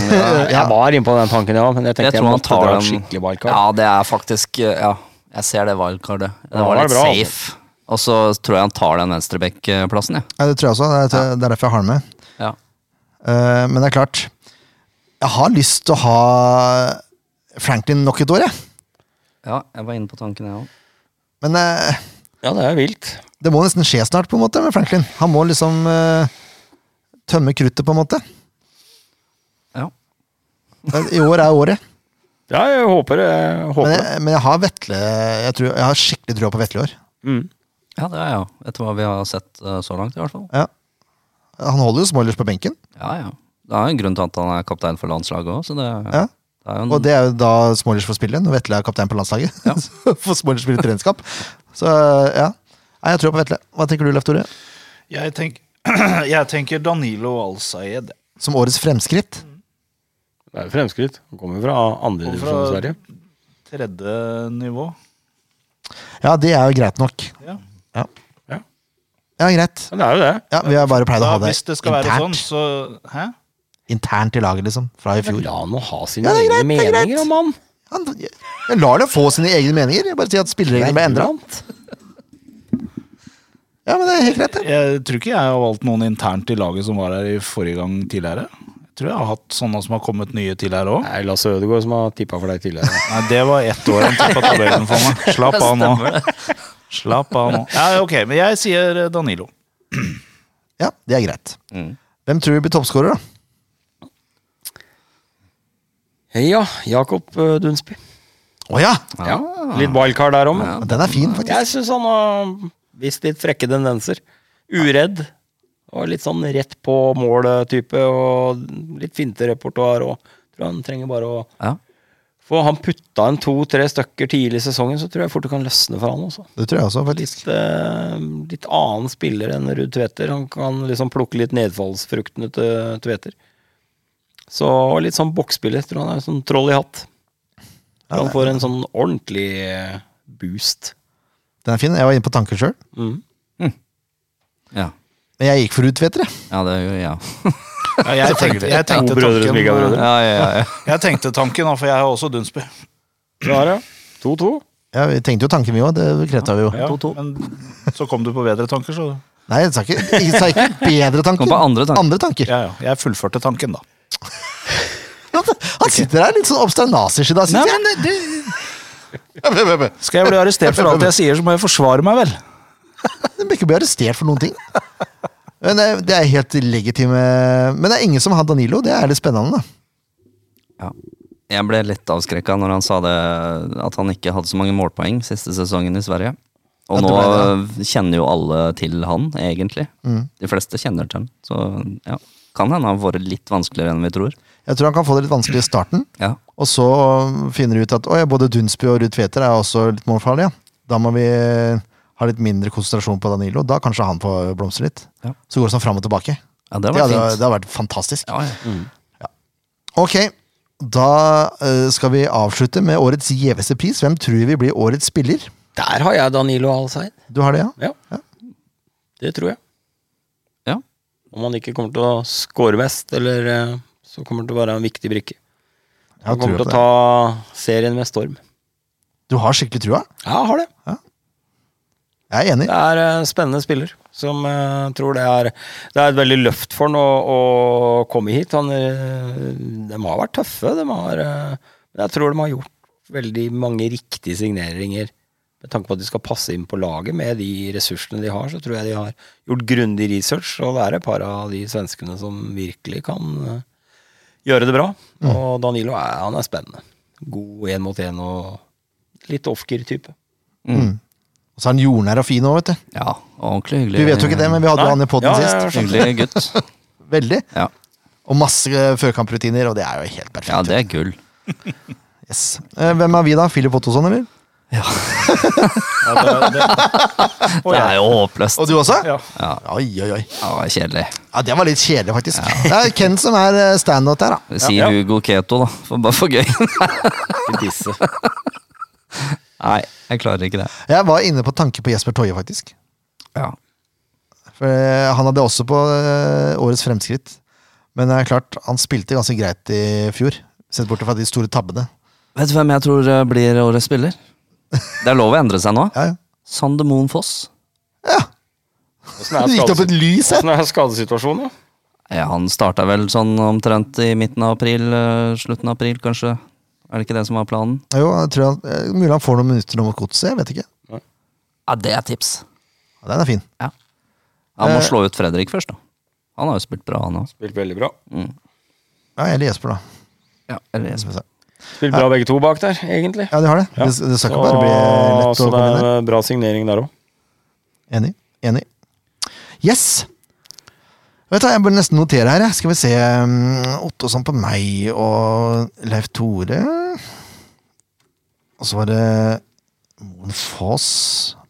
S1: *laughs*
S3: Jeg var inne på den tanken, ja, men jeg
S4: Jeg
S3: tenkte jeg,
S4: tror han
S3: måtte
S4: tar
S3: dra et
S4: den.
S3: skikkelig
S4: Ja,
S3: wildcard.
S4: det er faktisk eh, Ja, jeg ser det wildcardet. Det
S3: Ja,
S4: var
S3: det er
S4: litt
S3: bra, altså.
S4: safe. Og så tror jeg han tar den venstrebekkplassen, jeg.
S1: Ja, det tror jeg også. Det er, det er derfor jeg har den med.
S4: Ja.
S1: Eh, men det er klart, jeg har lyst til å ha Franklin nok et år, jeg.
S4: ja, jeg var inne på tanken, jeg òg.
S1: Men eh,
S3: Ja, det er vilt.
S1: det må nesten skje snart, på en måte, med Franklin. Han må liksom eh, tømme kruttet, på en måte.
S4: Ja.
S1: I år er året.
S3: Ja, jeg håper det. Jeg håper
S1: Men
S3: det.
S1: jeg, men jeg har Vetle jeg, tror, jeg har skikkelig trua på Vetle i år.
S3: Mm.
S4: ja, det er jeg òg. Etter hva vi har sett eh, så langt, i hvert fall.
S1: Ja. Han holder jo Smoilers på benken,
S4: Ja, ja. Det er jo en grunn til at han er kaptein for landslaget òg, så det,
S1: Ja.
S4: det er jo en
S1: og det er jo da Smoilers får spille når Vetle er kaptein på landslaget.
S4: Ja.
S1: *laughs* Så får Smoilers spille treningskamp. Så ja. Nei, jeg tror på Vetle. Hva tenker du, Leif Tore?
S2: Jeg, tenk, *clears throat* jeg tenker Danilo Al-Sayed.
S1: Som årets fremskritt?
S3: Det er jo fremskritt. Han kommer jo fra andre
S2: Kommer fra-
S3: divisjon i Sverige.
S2: Tredje nivå.
S1: Ja, det er jo greit nok.
S2: Ja.
S1: Ja,
S3: Ja.
S1: ja greit.
S3: Men det er jo det.
S1: Ja, Vi har bare pleid å
S2: Da,
S1: ha det
S2: hvis det skal være sånn,
S1: internt,
S2: så Hæ?
S1: internt i laget, liksom. Fra i
S3: Men
S1: fjor.
S3: La han nå ha sine
S1: Ja, det er
S3: egne
S1: greit, det er greit.
S3: meninger, mann.
S1: Han, jeg jeg lar det få sine egne meninger. Jeg bare sier at spillereglene ble endra. Ja, men det er er helt greit, det.
S2: Jeg tror ikke jeg har valgt noen internt i laget som var her i forrige gang tidligere. Jeg tror jeg har hatt sånne som har kommet nye til her òg.
S3: Det er Lasse Ødegaard som har tippa for deg tidligere.
S1: *laughs*
S2: Nei, det var ett år han tippa tabellen for meg. Slapp av nå. Slapp av nå. Ja, ok, men jeg sier eh, Danilo.
S1: Ja, det er greit.
S4: Mm.
S1: Hvem tror du blir toppskårer, da?
S3: Ja, Jakob eh, Dunsby.
S1: Å ja!
S3: Ja, Litt wildcard der òg, men
S1: Den er fin, faktisk.
S3: Ah. jeg syns han har vist litt frekke tendenser. Uredd. Og litt sånn rett på mål-type, og litt finte repertoar òg. Tror han trenger bare å
S4: Ja.
S3: få Han putta en to-tre stykker tidlig i sesongen, så tror jeg fort det kan løsne for han også.
S1: Det tror jeg også, faktisk.
S3: Litt, eh, litt annen spiller enn Ruud Tveter. Han kan liksom plukke litt nedfallsfruktene til Tveter. Så og litt sånn boksspiller. Tror han er sånn troll i hatt.
S1: Ja,
S3: Han
S1: det-
S3: får en sånn ordentlig eh, boost.
S1: Den er fin. Jeg var inne på tanken sjøl.
S3: Mm.
S4: Ja.
S1: Men jeg gikk for Ruud Tveter, jeg.
S4: ja, det gjør jeg. Ja.
S2: Ja, jeg tenkte, jeg
S3: To
S2: tenkte
S3: brødre som ikke er brødre.
S2: tanken, eh,
S4: Ja, ja, ja.
S2: jeg tenkte tanken da, for jeg har også Dunsby.
S3: Ja, ja. 2-2.
S1: Ja, vi tenkte jo tanken vi òg, det bekrefta vi jo.
S2: Ja, men så kom du på bedre tanker, så
S1: Nei, jeg sa ikke, jeg sa ikke bedre tanker.
S4: Kom på andre tanker.
S1: Andre tanker.
S2: ja, ja. jeg fullførte tanken, da.
S1: Han sitter der litt sånn obsternasisk i dag, syns jeg. Men, men, men.
S2: Skal jeg bli arrestert for alt jeg sier, så må jeg forsvare meg, vel.
S1: Du bør ikke bli arrestert for noen ting. Men det, det er helt legitime Men det er ingen som har Danilo. Det er litt spennende, da.
S4: Ja. Jeg ble litt avskrekka når han sa det, at han ikke hadde så mange målpoeng siste sesongen i Sverige. Og
S1: Ja, det Mm.
S4: nå
S1: ble
S4: kjenner jo alle til han, egentlig. De fleste kjenner til han. Så ja, kan hende han har vært litt vanskeligere enn vi tror.
S1: Jeg tror han kan få det litt vanskelig i starten,
S4: Ja,
S1: og så finner de ut at «Å ja, både Dunsby og Ruud Tveter er også litt målfarlige. Da må vi ha litt mindre konsentrasjon på Danilo. Da kanskje han får blomstre litt.
S4: Ja.
S1: Så går det sånn fram og tilbake.
S4: ja det
S1: Det
S4: var
S1: hadde, det
S4: fint.
S1: hadde vært fantastisk.
S4: Ja, Mm. ja.
S1: Ok, da eh, skal vi avslutte med årets gjeveste pris. Hvem tror vi blir årets spiller?
S3: Der har jeg Danilo Alseid.
S1: Du har det, ja?
S3: Ja.
S1: Ja.
S3: Det tror jeg.
S4: Ja.
S3: Om han ikke kommer til å score mest, eller eh, så kommer han til å være en viktig brikke.
S1: Jeg har
S3: Han kommer
S1: trua på
S3: til å
S1: det.
S3: ta serien med storm.
S1: Du har skikkelig trua?
S3: Ja, jeg har det.
S1: Jeg er enig.
S3: Det er eh, spennende spiller som eh, tror det er Det er et veldig løft for han å, å komme hit. Han, eh, de har vært tøffe, de har eh, Men jeg tror de har gjort veldig mange riktige signeringer. Med tanke på at de skal passe inn på laget med de ressursene de har, så tror jeg de har gjort grundig research, og det er et par av de svenskene som virkelig kan eh, gjøre det bra.
S1: Mm.
S3: Og Danilo er, han er spennende. God én mot én og litt offgear-type.
S1: Og så er han jordnær og fin òg, vet du.
S4: ja ordentlig hyggelig.
S1: Du vet jo ikke det, men vi hadde jo
S3: Nei.
S1: han i poden
S3: Ja, ja, ja.
S1: sist.
S4: Hyggelig gutt.
S1: Veldig.
S4: Ja.
S1: Og masse eh, førkamprutiner, og det er jo helt perfekt.
S4: ja, det er gull.
S1: Yes. Eh, Hvem er vi, da? Philip Ottosson, eller?
S2: Ja, det, det.
S4: Det er jo håpløst.
S1: Og du også?
S2: Ja.
S1: Oi, oi, oi.
S4: Ja, det er kjedelig.
S1: Ja, Det var litt kjedelig, faktisk. Det er Ken som er eh, standout der, da.
S4: Vi sier
S3: Ja.
S4: Hugo Keto, da. For bare for
S1: *laughs*
S4: gøy.
S3: Ikke disse.
S4: Nei, jeg klarer ikke det.
S1: Jeg var inne på tanke på Jesper Toje, faktisk.
S4: Ja.
S1: For eh, han hadde også på eh, årets fremskritt. Men det er klart, han spilte ganske greit i fjor. Sett bort fra de store tabbene.
S4: Vet du hvem jeg tror eh, blir
S1: *laughs*
S4: årets spiller? Det er lov å endre seg nå.
S1: Ja, ja.
S4: Sander Moen Foss.
S3: Åssen er
S1: Det gikk opp et lys her!
S3: Åssen er skadesituasjonen, da?
S4: Ja, han starta vel sånn omtrent i midten av april, eh, slutten av april kanskje. Er det ikke det som var planen?
S1: Jo, jeg tror han, eh, Mulig han får noen minutter nå mot godset, jeg vet ikke.
S4: Ja, det er tips.
S1: Ja, den er fin.
S4: Han må
S1: Eh.
S4: slå ut Fredrik først, da. Han har jo spilt bra, han òg.
S3: Spilt veldig bra.
S1: Ja, Eller Jesper, da.
S4: Ja, eller jeg
S1: Skal
S4: som-
S1: vi se.
S3: Spilt bra begge to bak der, egentlig.
S1: Ja, de har det.
S3: Mm. Ja.
S1: Det, det skal
S3: Så,
S1: ikke bare bli lett å
S3: så det
S1: komme inn
S3: er
S1: der.
S3: bra signering der òg.
S1: Enig. Enig. Yes! Vet du, hva, Jeg burde nesten notere her. jeg. Skal vi se mm, Ottosson på meg og Leif Tore. Og så var det Moen Foss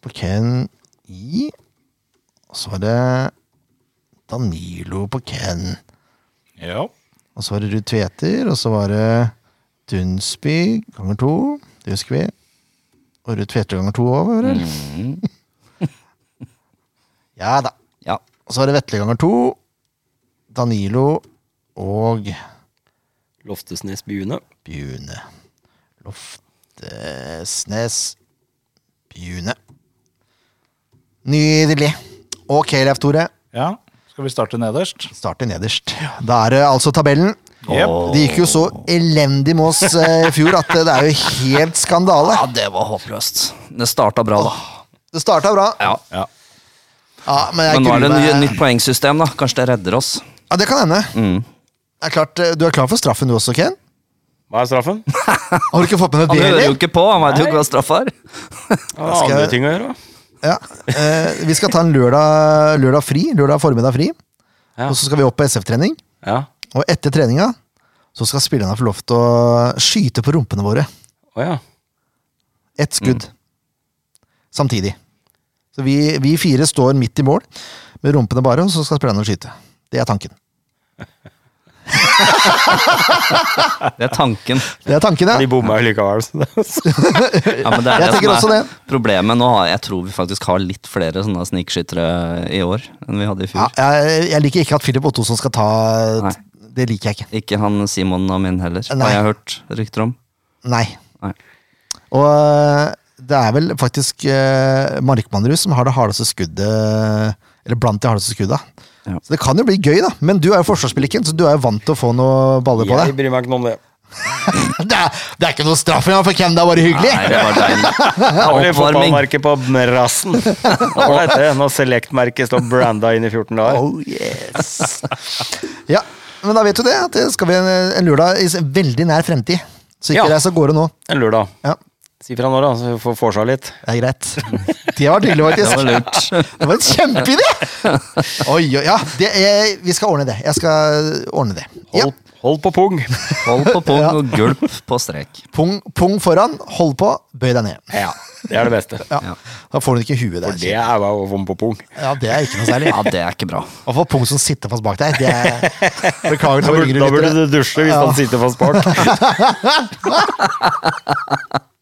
S1: på Ken I. Og så var det Danilo på Ken.
S2: Ja.
S1: Og så var det Ruud Tveter, og så var det Dunsby ganger to. Det husker vi. Og Ruud Tveter ganger to òg, var det vel?
S4: Mm,
S1: *laughs* Ja da.
S4: ja.
S1: Og så var det Vetle ganger to. Danilo og
S3: Loftesnes Bune.
S1: Bjune. Loftesnes Bjune. Nydelig. Ok, Leif Tore.
S2: Ja, Skal vi starte nederst?
S1: Starte nederst. Da er det altså tabellen.
S2: Jep.
S1: Det gikk jo så elendig med oss eh, i fjor at eh, det er jo helt skandale.
S4: Ja, det var håpløst. Det starta bra, da.
S1: Det starta bra,
S4: Ja.
S2: Ja.
S1: ja, men jeg
S4: Men nå er det
S1: gruer
S4: et
S1: meg-
S4: nytt poengsystem, da. Kanskje det redder oss.
S1: Ja, det kan hende.
S4: Mm.
S1: Det er klart, eh, du er klar for straffen du også, Ken?
S3: Hva er straffen?
S1: *laughs* Har du ikke fått med deg
S4: Han
S1: det?
S4: hører jo
S1: heller?
S4: ikke på, han veit jo ikke hva straff er.
S3: Han har andre ting å gjøre. da.
S1: Ja. Eh, vi skal ta en lørdag, lørdag fri. Lørdag formiddag fri.
S3: Ja.
S1: Og så skal vi opp på SF-trening.
S3: Ja.
S1: Og etter treninga så skal spillerne få lov til å skyte på rumpene våre.
S3: Å ja.
S1: Ett skudd. Samtidig. Så vi, vi fire står midt i mål med rumpene bare, og så skal spillerne skyte. Det er tanken.
S4: Det er tanken.
S1: Det er tanken, ja.
S3: De bomma jo likevel.
S1: *laughs*
S3: Så det,
S4: *laughs* Ja, men det er
S1: Jeg
S4: det
S1: tenker
S4: som
S1: også det.
S4: er problemet nå. har- Jeg tror vi faktisk har litt flere sånne snikskyttere i år enn vi hadde i
S1: ja
S4: fjor.
S1: jeg, jeg liker ikke at Philip Ottosson skal ta
S4: Nei.
S1: Det liker jeg ikke.
S4: Ikke han Simon Amin heller,
S1: Nei.
S4: har jeg hørt rykter om.
S1: Nei.
S4: Nei.
S1: Og øh, det er vel faktisk uh, Markmannrud som har det hardeste skuddet Eller blant de hardeste skudda.
S4: Ja.
S1: Så det kan jo bli gøy, da. Men du er jo forsvarsspiller, Ken, så du er jo vant til å få noe baller på
S3: jeg
S1: deg. *laughs*
S3: bryr meg ikke noe om det.
S1: Det er, det er ikke noe straff engang for Ken, det er bare hyggelig!
S4: Nei, det var deilig.
S3: Har
S4: Det er
S3: vi
S4: oppvarming.
S3: fotballmerket på
S1: *laughs*
S3: rassen? Hva heter det? Når Select-merket står branda inn i 14 dager.
S1: Oh yes! ja, men da vet du det. At det skal vi en, en lørdag i s- veldig nær fremtid. Så ikke
S3: Ja.
S1: reis av gårde nå.
S3: En lørdag.
S1: Ja,
S3: Si fra nå, da, så vi får vorsa litt.
S1: det er greit. Det var tydelig, faktisk.
S4: *laughs* Det var lurt.
S1: Det var en kjempeidé! Oi, oi, ja. Det er, vi skal ordne det. Jeg skal ordne det. Ja.
S3: Hold, hold på pung.
S4: Hold på pung og gulp på strek.
S1: Pung, pung foran, hold på, bøy deg ned.
S3: Ja, det er det beste.
S1: Ja.
S4: Ja.
S1: Da får du ikke huet der.
S3: For det er jo å få på pung.
S1: Ja, det er ikke noe særlig.
S4: Ja, det er ikke bra.
S1: I hvert fall pung som sitter fast bak deg. Det
S3: *laughs*
S1: er... Beklager
S3: Da
S1: til våre
S3: burde, da
S1: yngre
S3: burde
S1: lyttere.
S3: du dusje hvis han sitter fast
S1: *laughs*
S3: bak.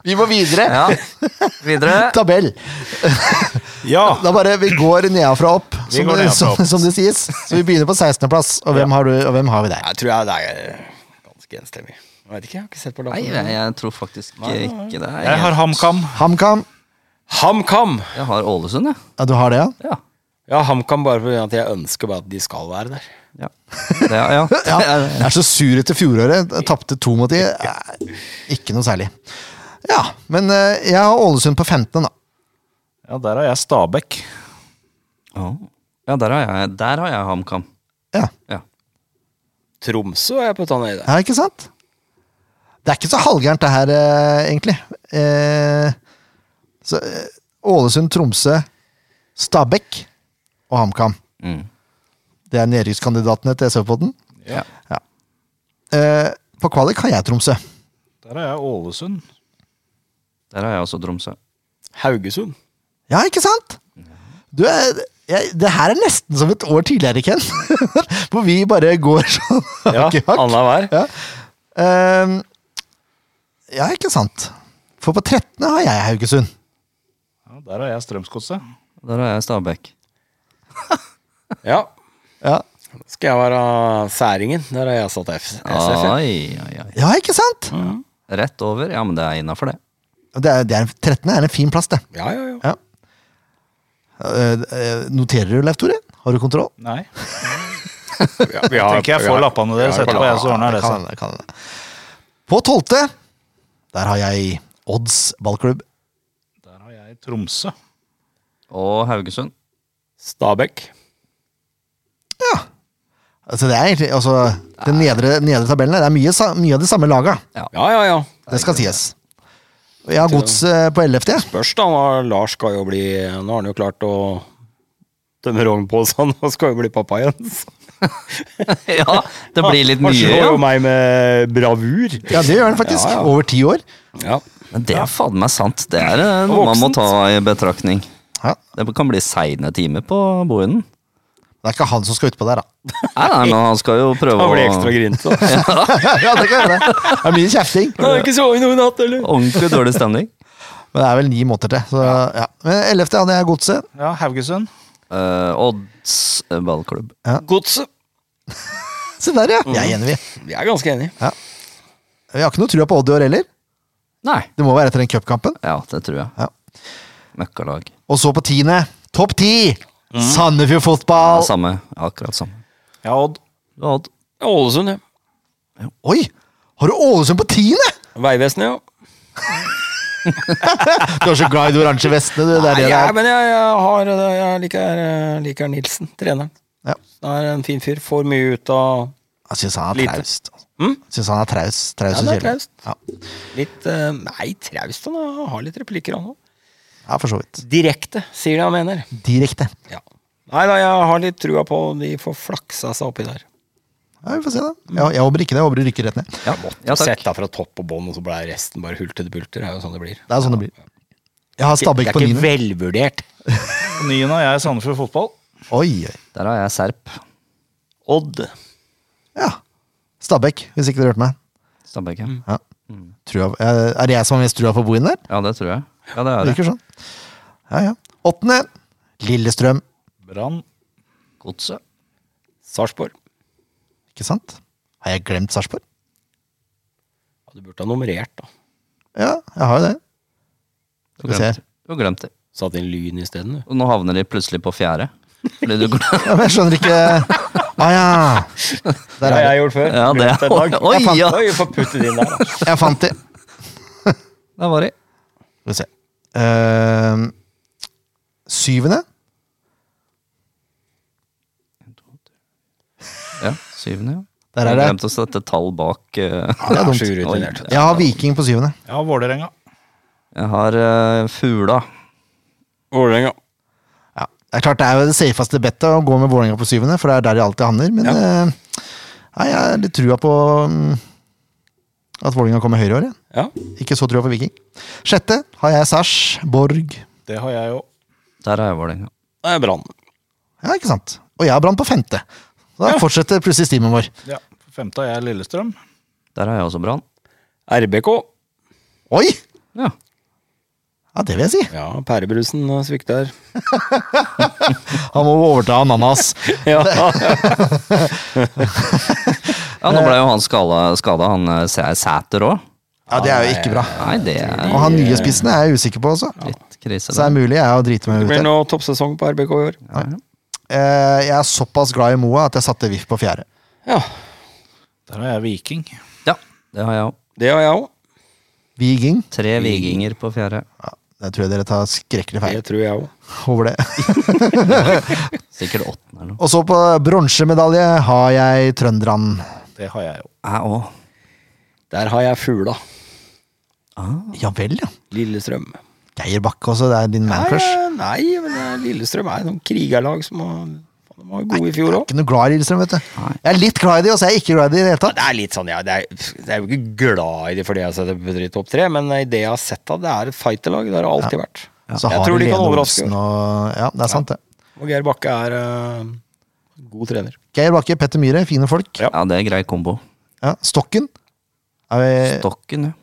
S1: Vi må videre.
S4: Ja. *laughs* Videre.
S1: Tabell.
S2: Ja!
S1: Da bare vi går nedenfra og opp,
S2: Vi
S1: som,
S2: går
S1: som,
S2: nedenfra opp.
S1: som det sies. Så vi begynner på 16.-plass, og, hvem har du- og hvem har vi der?
S3: Jeg tror jeg det er ganske enstemmig. Jeg vet ikke, jeg har ikke sett på
S4: Nei,
S3: dagen.
S4: jeg, jeg tror faktisk ikke det.
S2: Jeg har HamKam.
S1: HamKam.
S3: HamKam!
S4: Jeg har Ålesund, jeg.
S1: Ja, du har det, ja?
S4: Ja.
S3: Ja, HamKam bare fordi at jeg ønsker bare at de skal være der.
S4: Ja. Det er, *laughs*
S1: Ja,
S4: ja. Det er,
S1: jeg er så sur etter fjoråret. Jeg Tapte to mot de. Eh, Ikke noe særlig. Ja, men eh, jeg har Ålesund på 15., da.
S2: Ja, Der har jeg Stabæk.
S4: Å. ja, der har jeg, der har jeg HamKam.
S1: Ja,
S4: Ja.
S3: Tromsø er jeg putta ned i det.
S1: ja ikke sant? Det er ikke så halvgærent, det her, eh, egentlig. Eh, så eh, Ålesund, Tromsø, Stabæk og HamKam.
S4: Mm.
S1: Det er nedrykkskandidatene til SV-podden.
S4: Ja.
S1: Ja. Eh, på kvalik har jeg Tromsø.
S2: Der har jeg Ålesund.
S4: Der har jeg også Tromsø.
S3: *laughs* Haugesund.
S1: Ja, ikke sant? Du er, jeg, det her er nesten som et år tidligere, Ken. *laughs* Hvor vi bare går sånn *laughs*
S3: Ja,
S1: hakk i hakk.
S3: annenhver.
S1: Ja. Ehm, ja, ikke sant. For på 13. har jeg Haugesund.
S2: Ja, der har jeg Strømsgodset.
S4: Der har jeg Stabæk.
S3: Ja.
S1: Ja.
S3: Skal jeg være særingen? Der har jeg satt F. SF. ja.
S4: Oi, oi, oi.
S1: ja, ikke sant?
S4: Rett over. Ja, men det er innafor, det.
S1: Det er, det er, 13. er en fin plass, det.
S3: Ja, ja, ja.
S1: Ja. Eh, eh, noterer du, Leif Tore? Har du kontroll?
S2: Nei.
S3: Vi har- *laughs* vi har-
S2: Tenker jeg
S3: vi
S2: får
S3: har-
S2: lappene deres
S3: vi har-
S2: etterpå, jeg, så ordner jeg det
S1: kan
S2: seg.
S1: hende, kan hende. På 12. der har jeg Odds ballklubb.
S2: Der har jeg Tromsø.
S4: Og Haugesund. *laughs*
S3: Stabæk.
S1: Altså, det er egentlig, altså, den nedre, nedre tabellen her, det er mye, sa- mye av de samme laga.
S3: Ja, ja, ja.
S1: Det skal sies. Og Jeg har gods eh, på 11. jeg.
S3: Spørs da, nå, Lars skal jo bli Nå har han jo klart å tømme rognposene og skal jo bli pappa igjen. så.
S4: ja, det blir litt
S3: Han
S4: mye,
S3: slår jo
S4: ja.
S3: meg med bravur.
S1: Ja, det gjør den faktisk.
S3: Ja, ja.
S1: Over ti år.
S3: Ja.
S4: Men det er fader meg sant. Det er eh, noe man må ta i betraktning.
S1: Ja.
S4: Det kan bli seine timer på boenden.
S1: Det er ikke han som skal utpå der, da. *laughs*
S4: Nei, nei, men han
S3: *laughs*
S4: skal jo prøve
S3: Han blir ekstra
S4: å
S3: grinte.
S1: ja, det, kan jeg gjøre. det er mye kjefting.
S3: Han har ikke sovet noe i natt, eller?
S4: Ordentlig dårlig
S3: *laughs*
S4: stemning.
S1: Men det er vel ni måneder til. Så, ja. Men 11. hadde jeg godset.
S2: Ja, Haugesund.
S4: Eh, odds eh, ballklubb.
S3: Godset.
S1: Se der, ja. Vi er enige, vi.
S3: Vi er ganske enige.
S1: Vi har ikke noe trua på Odd i år heller.
S4: Nei.
S1: Det må være etter den cupkampen.
S4: Ja, det tror jeg.
S1: Ja.
S4: Møkkalag.
S1: Og så på tiende. Topp ti!
S3: Mm.
S1: Sandefjord
S4: Ja,
S1: fotball!
S4: samme. Akkurat samme.
S2: Ja, Odd.
S4: Ja, Odd.
S3: Ja, Ålesund, ja.
S1: Oi! Har du Ålesund på tiende?! *laughs*
S3: Vegvesenet, ja.
S1: Du er så glad i de oransje vestene, du. Det er
S3: Nei,
S1: det det
S3: jeg,
S1: er.
S3: men jeg, jeg, har, eh, jeg liker, eh, liker Nilsen, treneren.
S1: Ja.
S3: Han er en fin fyr. Får mye ut av
S1: Jeg syns han er
S3: Lite.
S1: traust. altså.
S3: Mm?
S1: Jeg Syns han er traust. Traust og
S3: Ja, han er
S1: kjedelig.
S3: traust.
S1: Ja.
S3: litt eh, Nei, traust. Han er- har litt replikker, han òg.
S1: ja, for så vidt.
S3: Direkte, sier det han mener.
S1: Direkte.
S3: Ja. Nei da, jeg har litt trua på de får flaksa seg oppi der.
S1: Ja, vi får se, da. Jeg, jeg håper ikke det. Jeg håper de rykker rett ned.
S4: Ja, ja takk.
S3: Sett deg fra topp og bånn, og så ble resten bare hulter til bulter. Det er jo sånn det blir.
S1: Det er sånn det blir. Jeg har Stabæk på
S3: det er ikke
S1: niende.
S3: velvurdert.
S2: På niende har jeg Sandefjord fotball.
S1: Oi, oi.
S4: Der har jeg Serp.
S3: Odd.
S1: Ja. Stabæk, hvis ikke dere hørte meg.
S4: Stabæk, ja.
S3: Mm.
S1: Ja. Trua, eh, er det jeg som har mest trua på boen der?
S4: ja, det tror jeg. Ja, det
S1: Det
S4: er det.
S1: virker sånn. Ja, ja. Åttende. Lillestrøm.
S2: Brann.
S4: Godset.
S3: Sarpsborg.
S1: Ikke sant? Har jeg glemt Sarpsborg?
S3: Ja, du burde ha nummerert, da.
S1: Ja, jeg har jo det.
S4: Du
S1: Skal vi se her.
S4: glemte. Du glemte.
S3: Satt inn Lyn isteden, du.
S4: Og nå havner de plutselig på fjerde. Fordi
S3: *laughs*
S4: du glemte.
S1: Ja, men jeg skjønner ikke Å ah, ja.
S3: *laughs*
S1: Der er det.
S3: gjort før.
S4: *laughs* Ja, det
S3: Glemt en dag.
S4: *laughs* Oi,
S3: Jeg fant-
S4: ja.
S3: Oi, få putte det inn der, da.
S1: Jeg fant det.
S4: Der var de.
S1: Skal vi se. Ehm, syvende.
S4: Ja, syvende, ja.
S1: Der er
S4: Jeg
S1: det.
S4: glemte å sette tall bak.
S1: Det
S4: eh.
S1: er
S3: Jeg er
S1: dumt.
S3: så urutinert.
S4: Oi.
S1: Jeg har Viking på syvende.
S2: Ja, Vålerenga.
S4: Jeg har eh, Fugla.
S3: Vålerenga.
S1: Ja. Det er klart det er jo det safeste bettet å gå med Vålerenga på syvende, for det er der de alltid havner. Men eh, nei, jeg har litt trua på mm, at Vålerenga kommer høyere i år. jeg.
S3: Ja.
S1: Ikke så trua på Viking. Sjette har jeg Sars Borg.
S2: Det har jeg òg.
S4: Der har jeg Vålerenga.
S3: Det er Brann.
S1: Ja, ikke sant? Og jeg har Brann på femte. Så da fortsetter plutselig stimen vår.
S2: Ja. på Femte har jeg Lillestrøm.
S4: Der har jeg også Brann.
S3: RBK.
S1: Oi!
S4: Ja.
S1: Ja, det vil jeg si.
S3: Ja, pærebrusen eh, svikter.
S1: Han må overta ananas.
S3: *laughs* Ja.
S4: ja, nå ble jo han skada, han eh, Sæ- Sæter òg.
S1: Ja, det er jo ikke bra.
S4: Nei, det er
S1: Og han nye spissen er jeg usikker på også.
S4: litt krise.
S1: Så det er mulig jeg har driti meg
S3: Det
S1: ut
S3: blir
S1: der.
S3: nå toppsesong på RBK i år.
S4: Ja, ja.
S1: Eh, Jeg er såpass glad i Moa at jeg satte VIF på fjerde.
S3: Ja,
S2: Der har jeg Viking.
S4: ja, det har jeg òg.
S3: det har jeg òg.
S1: Viging.
S4: Tre viginger på fjerde.
S1: Ja, det tror jeg dere tar skrekkelig feil.
S3: Det tror jeg òg.
S1: over det. *laughs*
S4: Sikkert åttende eller noe.
S1: Og så på bronsemedalje har jeg trønderne.
S2: Det har jeg òg.
S4: Jeg òg.
S3: Der har jeg Fugla.
S4: Ah.
S1: Ja vel, ja.
S3: Lillestrøm.
S1: Geir Bakke også, det er din
S3: Nei,
S1: mancrush.
S3: eh, nei, men eh, Lillestrøm er noen krigerlag som har, faen, de var jo gode i fjor òg.
S1: Ikke noe glad i Lillestrøm, vet du. Jeg er litt glad i de, og så er jeg ikke glad i de i det hele tatt.
S3: Det er litt sånn, ja, det er, det er jo ikke glad i det fordi jeg har sett det på topp tre, men i det jeg har sett av det, er et fighterlag. Det har det alltid vært.
S1: Så
S3: Jeg
S1: har
S3: tror
S1: vi
S3: de kan
S1: Lene
S3: overraske.
S1: Olsen Og, ja, det er sant, det.
S3: Og Geir Bakke er eh, god trener.
S1: Geir Bakke, Petter Myhre, fine folk.
S3: Ja.
S4: Ja, det er grei kombo.
S1: Ja, Stokken. Er vi,
S4: Stokken, ja.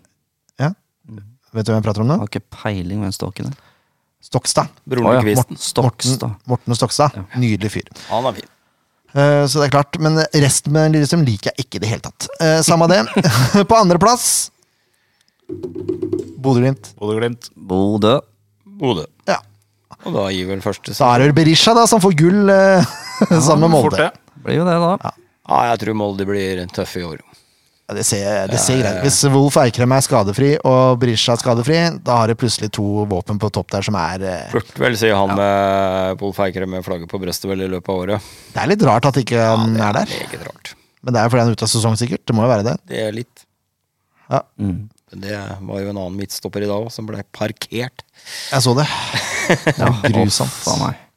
S1: ja.
S3: Mm.
S1: Vet du hvem jeg prater om nå?
S4: Har ikke peiling hvem stokken er.
S1: Stokstad.
S3: Broren til
S4: Å ja,
S3: Kvisten.
S4: Morten Stokstad.
S1: Morten Stokstad. Nydelig fyr.
S3: Han er fin.
S1: Eh, Så det er klart, men resten med Lillestrøm liker jeg ikke i det hele tatt. Eh, Samme det. *laughs* På andreplass Bodø-Glimt.
S2: Bodø-Glimt.
S4: Bodø.
S3: Bodø.
S1: Ja.
S3: Og da gir vel første
S1: Da er det vel Berisha da, som får gull eh, *laughs* sammen med
S2: Fort
S1: Molde.
S2: det.
S1: Det.
S4: Blir jo det, da.
S3: Ja, jeg tror Molde blir tøffe i år.
S1: Ja, det ser, det ser greit Hvis Wolf Eikrem er skadefri og Berisha er skadefri, da har det plutselig to våpen på topp der som er eh,
S3: Burde vel, sier han med Pol Feikrem med flagget på brøstet vel i løpet av året.
S1: Det er litt rart at ikke han er der.
S3: Meget rart.
S1: Men det er jo fordi han er ute av sesong, sikkert. Det må jo være det.
S3: Det er litt.
S1: Ja,
S3: Men det var jo en annen midtstopper i dag også, som ble parkert.
S1: jeg så det. Det var grusomt.
S4: Faen meg.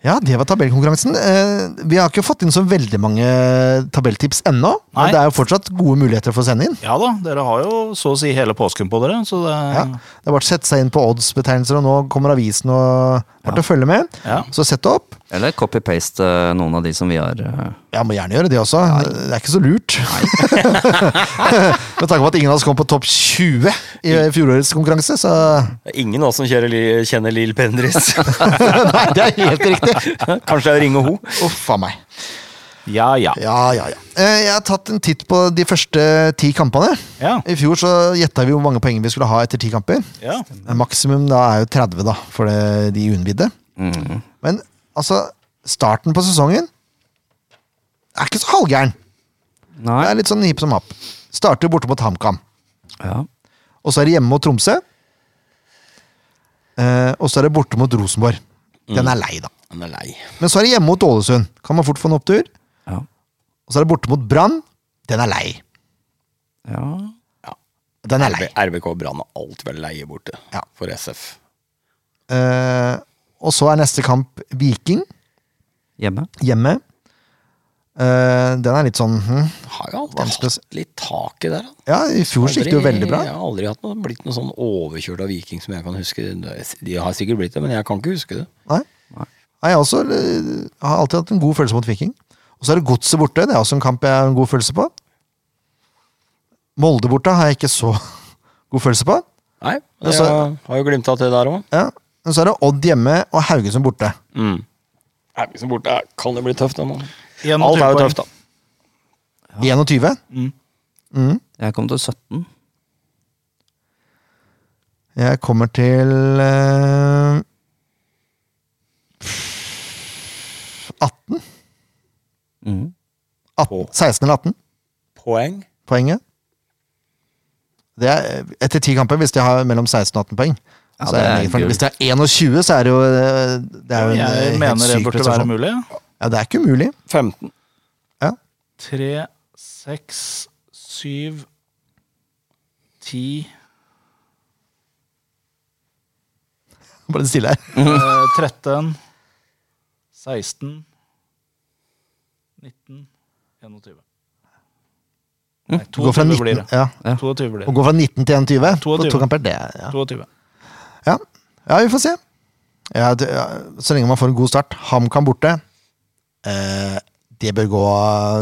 S1: Ja, det var tabellkonkurransen. Eh, Vi har ikke fått inn så veldig mange tabelltips ennå.
S2: Nei.
S1: Men det er jo fortsatt gode muligheter for å sende inn.
S2: Ja da, dere har jo så å si hele påsken på dere, så det
S1: Ja. Det har vært sett seg inn på oddsbetegnelser, og nå kommer avisen og vært å følge med.
S2: Ja.
S1: Så sett det opp.
S4: Eller copy-paste eh, noen av de som vi har eh,
S1: Ja, må gjerne gjøre det også. Det er ikke så *laughs* lurt. Med tanke på at ingen av oss kom på topp 20 i fjorårets konkurranse, så
S3: Det er ingen av oss som kjører li kjenner Lill *laughs* Pendris.
S1: Nei, det er helt riktig.
S3: Kanskje jeg ringer henne.
S1: Uff a meg.
S2: Ja ja.
S1: Ja, ja, ja. Eh, Jeg har tatt en titt på de første ti kampene.
S2: Ja.
S1: I fjor så gjetta vi hvor mange poeng vi skulle ha etter ti kamper.
S2: ja.
S1: Maksimum da er jo 30 da, for det, de uinnvidde.
S4: Mm.
S1: Men altså, starten på sesongen er ikke så halvgæren. Det
S4: Nei.
S1: er litt sånn hipp som happ. Starter borte mot HamKam.
S4: Ja.
S1: Og så er det hjemme mot Tromsø. Eh, og så er det borte mot Rosenborg. Den er lei, da.
S3: Han er lei.
S1: Men så er det hjemme mot Ålesund. Kan man fort få en opptur.
S4: Ja.
S1: Og så er det borte mot Brann. Den er lei.
S4: ja.
S1: Den er lei.
S3: RBK og Brann er alt vel leie borte
S1: Ja.
S3: for SF.
S1: Eh, og så er neste kamp Viking
S4: Hjemme.
S1: hjemme. Eh, den er litt sånn hm.
S3: Har jo alltid
S1: Vanskelig å s-
S3: hatt litt tak i der. da.
S1: Ja, i fjor så gikk det jo veldig bra.
S3: Jeg har aldri hatt noe, blitt noe sånn overkjørt av Viking som jeg kan huske. De har sikkert blitt det, men jeg kan ikke huske det.
S1: Nei. Nei, jeg også eh, har alltid hatt en god følelse mot Viking. Og så er det Godset borte. Det er også en kamp jeg har en god følelse på. Molde borte har jeg ikke så *laughs* god følelse på.
S3: Nei,
S1: Ja,
S3: jeg
S1: så-
S3: har jo glimta til der òg.
S1: Ja. Men så er det Odd hjemme og Haugesund borte.
S3: Mm. Eriksen borte ja, kan det bli tøft, da. mann.
S2: Igjen
S3: Alt er jo
S2: tre
S3: tøft, da.
S1: 21.
S2: Mm.
S1: Mm.
S4: Jeg kom til 17.
S1: Jeg kommer til eh, 18?
S4: Mm.
S1: 18 16 eller 18
S3: Poeng.
S1: poenget. Det er, etter ti kamper, hvis de har mellom 16 og 18 poeng
S4: Ja,
S1: så er
S4: det
S1: det
S4: er
S1: meget fornøyd.
S4: gull.
S1: Hvis det er 21, så er det jo eh, Det er jo en eh,
S2: Jeg
S1: helt liksom.
S2: mener det
S1: syk
S2: burde være
S1: prestasjon.
S2: mulig.
S1: Ja, det er ikke umulig. *laughs*
S3: 15.
S2: Tre, seks, syv, ti
S1: Bare stille her.
S2: Eh, 13, 16, 19, 21.
S1: Å
S2: Nei,
S1: Mm. gå fra
S2: 22 blir
S1: 19,
S2: det.
S1: ja.
S2: 22
S1: Å
S2: blir det.
S1: gå fra 19 til 21 på
S2: 22.
S1: to kamper, det er- ja.
S2: 22.
S1: ja. Ja, vi får se. Ja, det, ja, så lenge man får en god start. HamKam borte. Eh, det bør gå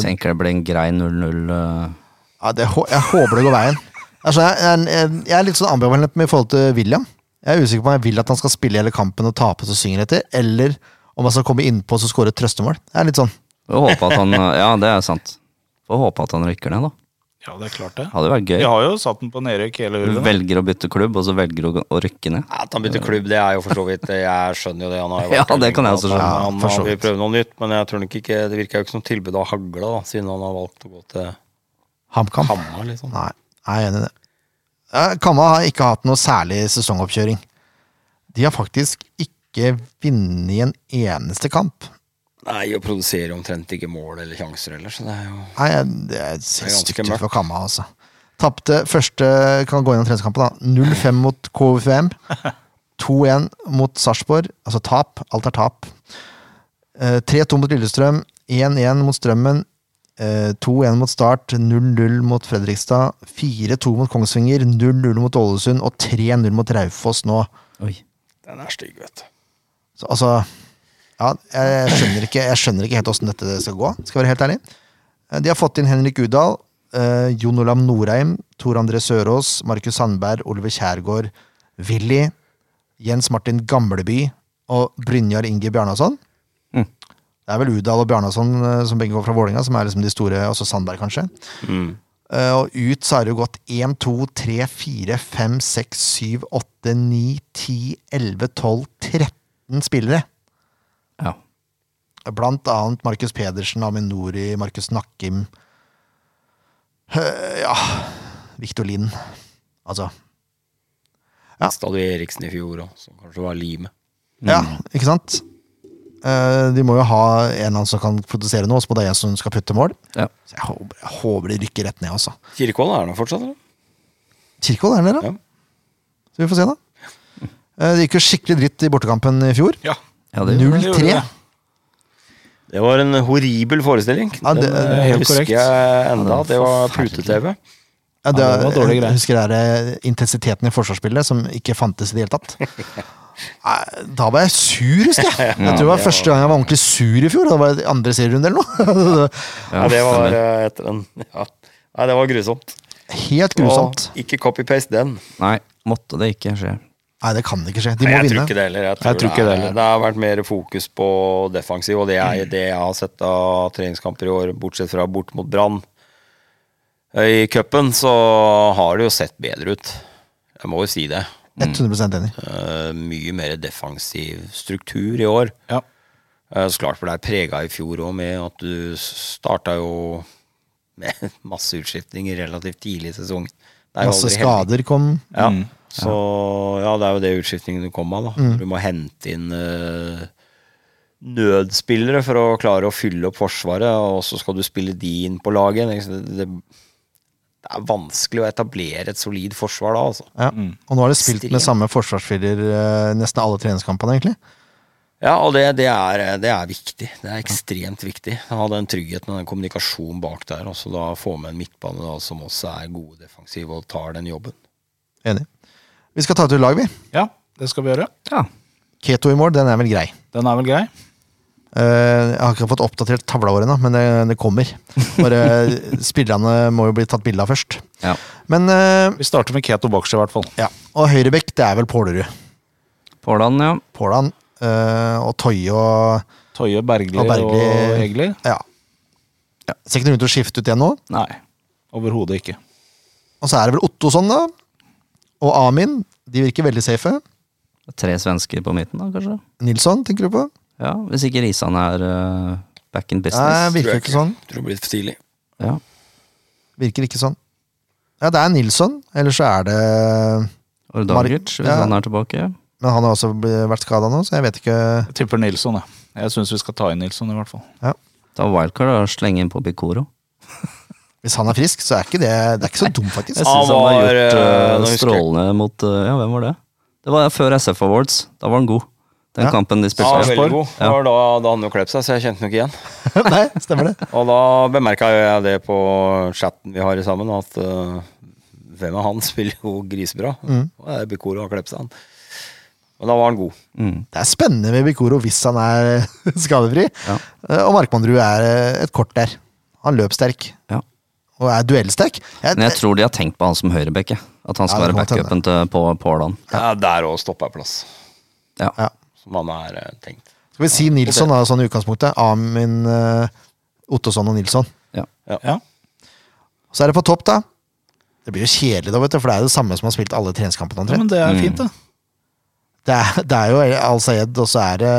S4: Tenker det blir en grei 0-0. eh.
S1: ja, det, hå- Jeg håper det går veien. Altså, jeg, jeg, jeg- jeg er litt sånn ambivalent med i forhold til William. Jeg er usikker på om jeg vil at han skal spille hele kampen og tape og synge etter, eller om han skal komme innpå og skåre et trøstemål. Jeg er litt sånn
S4: Får håpe at han eh, Ja, det er sant. Får håpe at han rykker ned, da.
S2: Ja, det er klart det.
S4: Hadde jo vært
S2: Vi
S4: gøy.
S2: har jo satt den på nedrykk hele
S4: Du
S2: ulven.
S4: velger å bytte klubb, og så velger du å å rykke ned.
S3: At han bytter klubb, det er jo for så vidt Jeg skjønner jo det. Han har jo
S4: Ja,
S3: vært
S4: det kan jeg også
S3: Han-
S4: skjønne.
S1: Ja,
S3: Han,
S1: for så
S3: han vil
S1: vidt.
S3: prøve noe nytt, men jeg tror nok ikke det virker jo ikke som tilbud av hagla, da, siden han har valgt å gå til
S1: HamKam.
S3: Hamar, liksom.
S1: Nei, jeg er enig i det. Eh, Kamma har ikke hatt noe særlig sesongoppkjøring. De har faktisk ikke vunnet en eneste kamp.
S3: Nei, og produserer omtrent ikke mål eller sjanser heller, så det er jo
S1: Nei, jeg- det er
S3: er ganske
S1: stygt ut
S3: mørkt.
S1: for Kamma, altså. Tapte første kan gå gjennom treningskampen, da. 0-5 mot KFUM. 2-1 mot Sarpsborg. Altså tap. Alt er tap. Eh, 3-2 mot Lillestrøm. 1-1 mot Strømmen. eh, 2-1 mot Start. 0-0 mot Fredrikstad. 4-2 mot Kongsvinger. 0-0 mot Ålesund. Og 3-0 mot Raufoss nå.
S4: Oi.
S3: Den er stygg, vet du.
S1: Så, altså Ja, jeg skjønner ikke, jeg skjønner ikke helt åssen dette skal gå, skal jeg være helt ærlig. Eh, De har fått inn Henrik Udal, eh, Jon Olav Norheim, Tor André Sørås, Markus Sandberg, Oliver Kjærgaard, Willy, Jens Martin Gamleby og Brynjar Inge Bjarnason.
S4: Mm.
S1: Det er vel Udal og Bjarnason eh, som begge går fra Vålinga, som er liksom de store, også Sandberg, kanskje. Eh, Og ut så har det jo gått 1, 2, 3, 4, 5, 6, 7, 8, 9, 10, 11, 12, 13 spillere.
S4: Ja.
S1: Blant annet Markus Pedersen, Aminori, Markus Nakkim Eh, Ja Victor Lind. Altså Ja.
S3: Stadion Eriksen i fjor òg, som kanskje var limet.
S1: Ja,
S4: Mm.
S1: ikke sant? Eh, De må jo ha en eller annen som kan produsere noe, og så må det være en som skal putte mål.
S4: Ja.
S1: Så jeg håper, jeg håper de rykker rett ned, altså.
S3: Kirkevold er nå fortsatt, eller?
S1: Kirkevold er der, da.
S3: Ja.
S1: Så vi får se,
S4: *laughs*
S1: da. Eh, Det gikk jo skikkelig dritt i bortekampen i fjor.
S2: Ja.
S4: ja det gjorde det.
S1: 0-3.
S2: det.
S3: Det var en horribel forestilling.
S1: Ja, det-
S3: Den eh,
S2: det er helt
S3: husker
S2: korrekt.
S3: jeg enda.
S4: Ja,
S3: Det
S4: det
S3: var
S4: var
S3: pute-TV.
S1: Ja, det,
S2: Ja, det var dårlige
S1: jeg
S2: greier.
S1: husker det er eh, intensiteten i forsvarsspillet som ikke fantes i det hele tatt. Nei, Da var jeg sur, husker jeg. Jeg tror det var første gang jeg var ordentlig sur i fjor. Da var det andre serierunde eller noe. *laughs*
S3: Ja, det var eh, etter den. Ja. Nei, det var grusomt.
S1: Helt grusomt.
S3: Og ikke copy-paste den.
S4: Nei, måtte det ikke skje.
S1: Nei, det kan ikke skje. De
S3: Nei,
S1: må
S3: jeg tror
S1: vinne.
S3: ikke det heller. Jeg tror,
S2: tror ikke
S3: det,
S2: det
S3: er,
S2: heller.
S3: det har vært mer fokus på defensiv, og det er det jeg har sett av treningskamper i år, bortsett fra bort mot Brann. I cupen så har det jo sett bedre ut. Jeg må jo si det.
S1: 100 enig.
S3: Eh, mye mer defensiv struktur i år.
S2: Ja.
S3: Eh, så klart ble jeg prega i fjor òg med at du starta jo med *laughs* masse utskiftninger relativt tidlig i sesongen. Det er jo
S1: Masse
S3: aldri heldig.
S1: skader kom.
S3: Ja.
S2: Mm.
S3: Så ja, det er jo det utskiftningen du kommer med. da. Du må hente inn eh, nødspillere for å klare å fylle opp forsvaret, og så skal du spille de inn på laget. Ikke sant? Det, det, det er vanskelig å etablere et solid forsvar da, altså.
S1: Ja. Og nå har de spilt med
S3: Ekstremt.
S1: samme forsvarsspiller eh, nesten alle treningskampene, egentlig.
S3: Ja, og det, det, er, det er viktig. Det er ekstremt viktig. Ha den tryggheten og den kommunikasjonen bak der. Og så da få med en midtbane da, som også er gode defensiv og tar den jobben.
S1: Enig. Vi skal ta ut et lag, vi.
S2: ja, det skal vi gjøre.
S4: Ja.
S1: Keto i mål, den er vel grei.
S2: Den er vel grei.
S1: Eh, jeg har ikke fått oppdatert tavla vår ennå, men det, det kommer. Bare Spillerne må jo bli tatt bilde av først.
S4: ja.
S1: Men eh,
S2: Vi starter med Keto Bakshi, i hvert fall.
S1: ja. Og høyrebekk, det er vel Pålerud.
S4: Pålan, ja.
S1: Pålan eh, og Toye og
S2: Toje Bergli
S1: Og
S2: og,
S1: Bergli.
S2: Egli?
S1: Ja. Ser ikke noe grunn til å skifte ut igjen nå.
S2: Nei, overhodet ikke.
S1: Og så er det vel Ottosson, da. Og Amin. De virker veldig safe.
S4: Tre svensker på midten, da, kanskje?
S1: Nilsson, tenker du på?
S4: Ja, Hvis ikke Risan er eh, back in
S1: Nei,
S4: business.
S1: virker
S3: Tror jeg
S1: ikke sånn.
S3: Tror det blir for tidlig.
S4: ja.
S1: Virker ikke sånn. Ja, det er Nilsson, eller så er det
S4: Ordagic, hvis
S1: ja.
S4: han er tilbake.
S1: Men han har også bl- vært skada nå, så jeg vet ikke
S2: Jeg tipper Nilsson, jeg. Jeg syns vi skal ta inn Nilsson, i hvert fall.
S4: Ta wildcard og slenge inn på Bikoro.
S1: Hvis han er frisk, så er ikke det Det er ikke så dumt, faktisk.
S4: Jeg
S3: Han
S4: syns han har
S3: var,
S4: gjort
S3: eh,
S4: eh,
S3: nå husker jeg-
S4: strålende mot eh, Ja, hvem var det? Det var før SF Awards. Da var han god. Den
S1: Ja.
S4: kampen de
S3: Ja,
S4: spilte.
S3: veldig god. Det var da, da han jo klepp seg, så jeg kjente den ikke
S1: *laughs*
S3: igjen.
S1: Nei, stemmer det.
S3: Og da bemerka jeg det på chatten vi har sammen, at eh, hvem av han *laughs* spiller jo grisebra.
S1: Mm.
S3: Og det er Bikoro har klept seg, han. Men da var han god.
S4: Mm.
S1: Det er spennende med Bikoro hvis han er *laughs* skadefri.
S4: Ja.
S1: Eh, Og Markmannrud er eh, et kort der. Han løp sterk,
S4: Ja.
S1: og er duellsterk. Jeg-
S4: Men jeg tror de har tenkt på han som høyrebekk. jeg. At han skal
S1: Ja, det kan
S4: være
S1: godt
S4: backupen til på Pålan.
S3: Ja, der òg stoppa jeg plass,
S4: Ja.
S1: Ja.
S3: som han er eh, tenkt.
S1: Skal vi si Nilsson, da, sånn i utgangspunktet. Amin, eh, Ottosson og Nilsson.
S4: Ja.
S2: Ja.
S1: Så er det på topp, da. Det blir jo kjedelig, da, vet du, for det er jo det samme som har spilt alle treningskampene.
S2: ja,
S1: omtrent.
S2: men det er fint, det.
S1: Det er, det er jo Al-Sayed, og så er det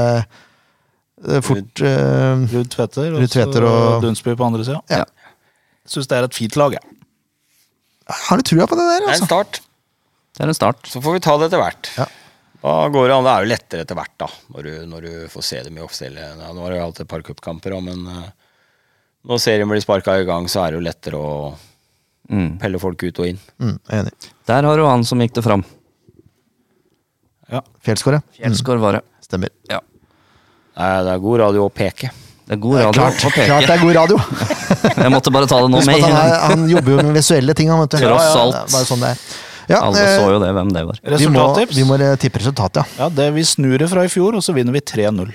S1: eh, fort eh,
S2: Ruud Tveter og,
S1: Ruud Tveter og-
S2: så Dunsby på andre sida.
S1: Ja.
S2: Syns det er et fint lag, jeg.
S1: Jeg Har du trua på det der,
S3: Det er en
S1: altså?
S3: start.
S4: Det er en start.
S3: Så får vi ta det etter hvert.
S1: Ja.
S3: Da går det an. Det er jo lettere etter hvert, da, når du, når du får se dem i offisielle ja, Nå har jeg hatt et par cupkamper, da, men eh, når serien blir sparka i gang, så er det jo lettere å
S4: Mm.
S3: pelle folk ut og inn.
S1: Mm, enig.
S4: Der har du han som gikk det fram.
S1: Fjellskåre. Mm,
S4: Fjellsgård var det.
S1: stemmer.
S4: Ja.
S3: Nei, det er god radio å peke.
S4: Det er god radio
S1: Klart,
S4: å
S1: klart det
S4: peke.
S1: er god radio!
S4: *laughs* Jeg måtte bare ta det nå
S1: Husk
S4: med.
S1: at
S4: en
S1: han, er,
S4: gang.
S1: han jobber jo med visuelle ting. Han, vet du.
S4: Tross alt.
S1: det er Bare sånn det er. Ja,
S4: Alle
S1: eh,
S4: så jo det, hvem det var.
S1: vi må,
S2: Resultattips?
S1: vi må eh, tippe resultatet, ja.
S2: Ja, det Vi snur det fra i fjor, og så vinner vi 3-0.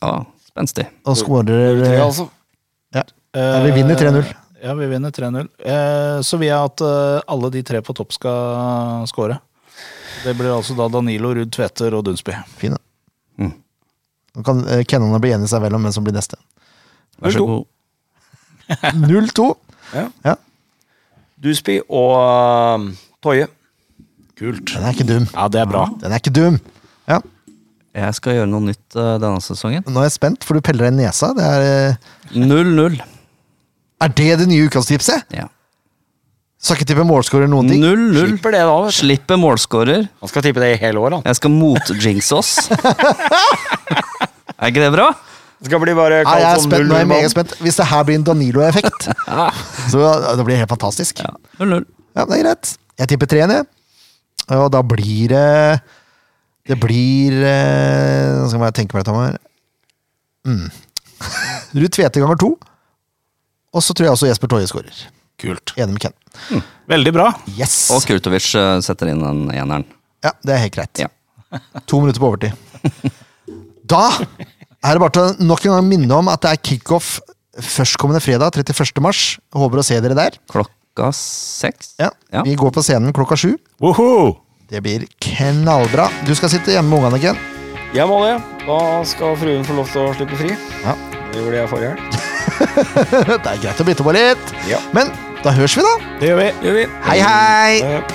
S4: Ja, Spenstig.
S1: Og skårer
S3: Tre,
S1: eh,
S3: altså.
S1: ja. Ja, vi vinner 3-0.
S2: Eh, Ja, vi vinner 3-0. Eh, Så vil jeg at eh, alle de tre på topp skal score. Det blir altså da Danilo, Ruud Tveter og Dunsby.
S1: Fin, da.
S4: Mm.
S1: Nå kan eh, kennerne bli enige seg vel om hvem som blir
S4: *laughs*
S1: neste.
S4: Vær så god.
S1: 0-2.
S3: Ja.
S1: Ja.
S3: Dusby og eh, Toje.
S2: Kult.
S1: Den er ikke dum.
S2: Ja, det er bra.
S1: Den er ikke dum. Ja.
S4: Jeg skal gjøre noe nytt eh, denne sesongen.
S1: Nå er jeg spent, for du peller deg i nesa. Det er, eh,
S4: 0-0.
S1: er det det nye ukastipset?
S4: Ja.
S1: Skal ikke tippe målscorer noen ting.
S4: 0-0.
S3: Slipper det, da. vet du.
S4: Slipper målskårer.
S3: Han skal tippe det i hele år, han.
S4: Jeg skal motjinxe oss. er ikke det bra?
S3: Det skal bli bare
S1: Nei, jeg er
S3: kalt sånn
S1: spent, nå er jeg meget
S3: null-null-mann.
S1: spent. Hvis det her blir en
S4: *laughs*
S1: Danilo-effekt, så ja, det blir helt fantastisk.
S4: Ja. 0-0.
S1: Ja, det er greit. Jeg tipper tre ned. Og da blir det Det blir eh, Nå skal jeg bare tenke meg litt om her. Mm. *laughs* Ruud Tvete ganger to. Og så tror jeg også Jesper Toje skårer.
S2: Kult.
S1: Enig med Ken.
S2: Veldig bra.
S1: Yes!
S4: Og Kurtovic eh, setter inn den eneren.
S1: Ja, det er helt greit.
S4: Ja.
S1: To minutter på overtid. *laughs* Da er det bare til å nok en gang minne om at det er kickoff førstkommende fredag, 31. mars. Håper å se dere der.
S4: Klokka seks.
S1: Ja.
S4: Ja.
S1: Vi går på scenen klokka sju.
S2: Woho!
S1: Det blir knallbra. Du skal sitte hjemme med ungene, Ken.
S3: Jeg må det. Da skal fruen få lov til å slippe fri.
S1: Ja.
S3: Det gjorde jeg forrige helg.
S1: Det er greit å bytte på litt.
S3: Ja.
S1: Men da høres vi, da.
S2: Det gjør vi.
S3: Gjør vi.
S1: Hei, hei!
S3: Eh,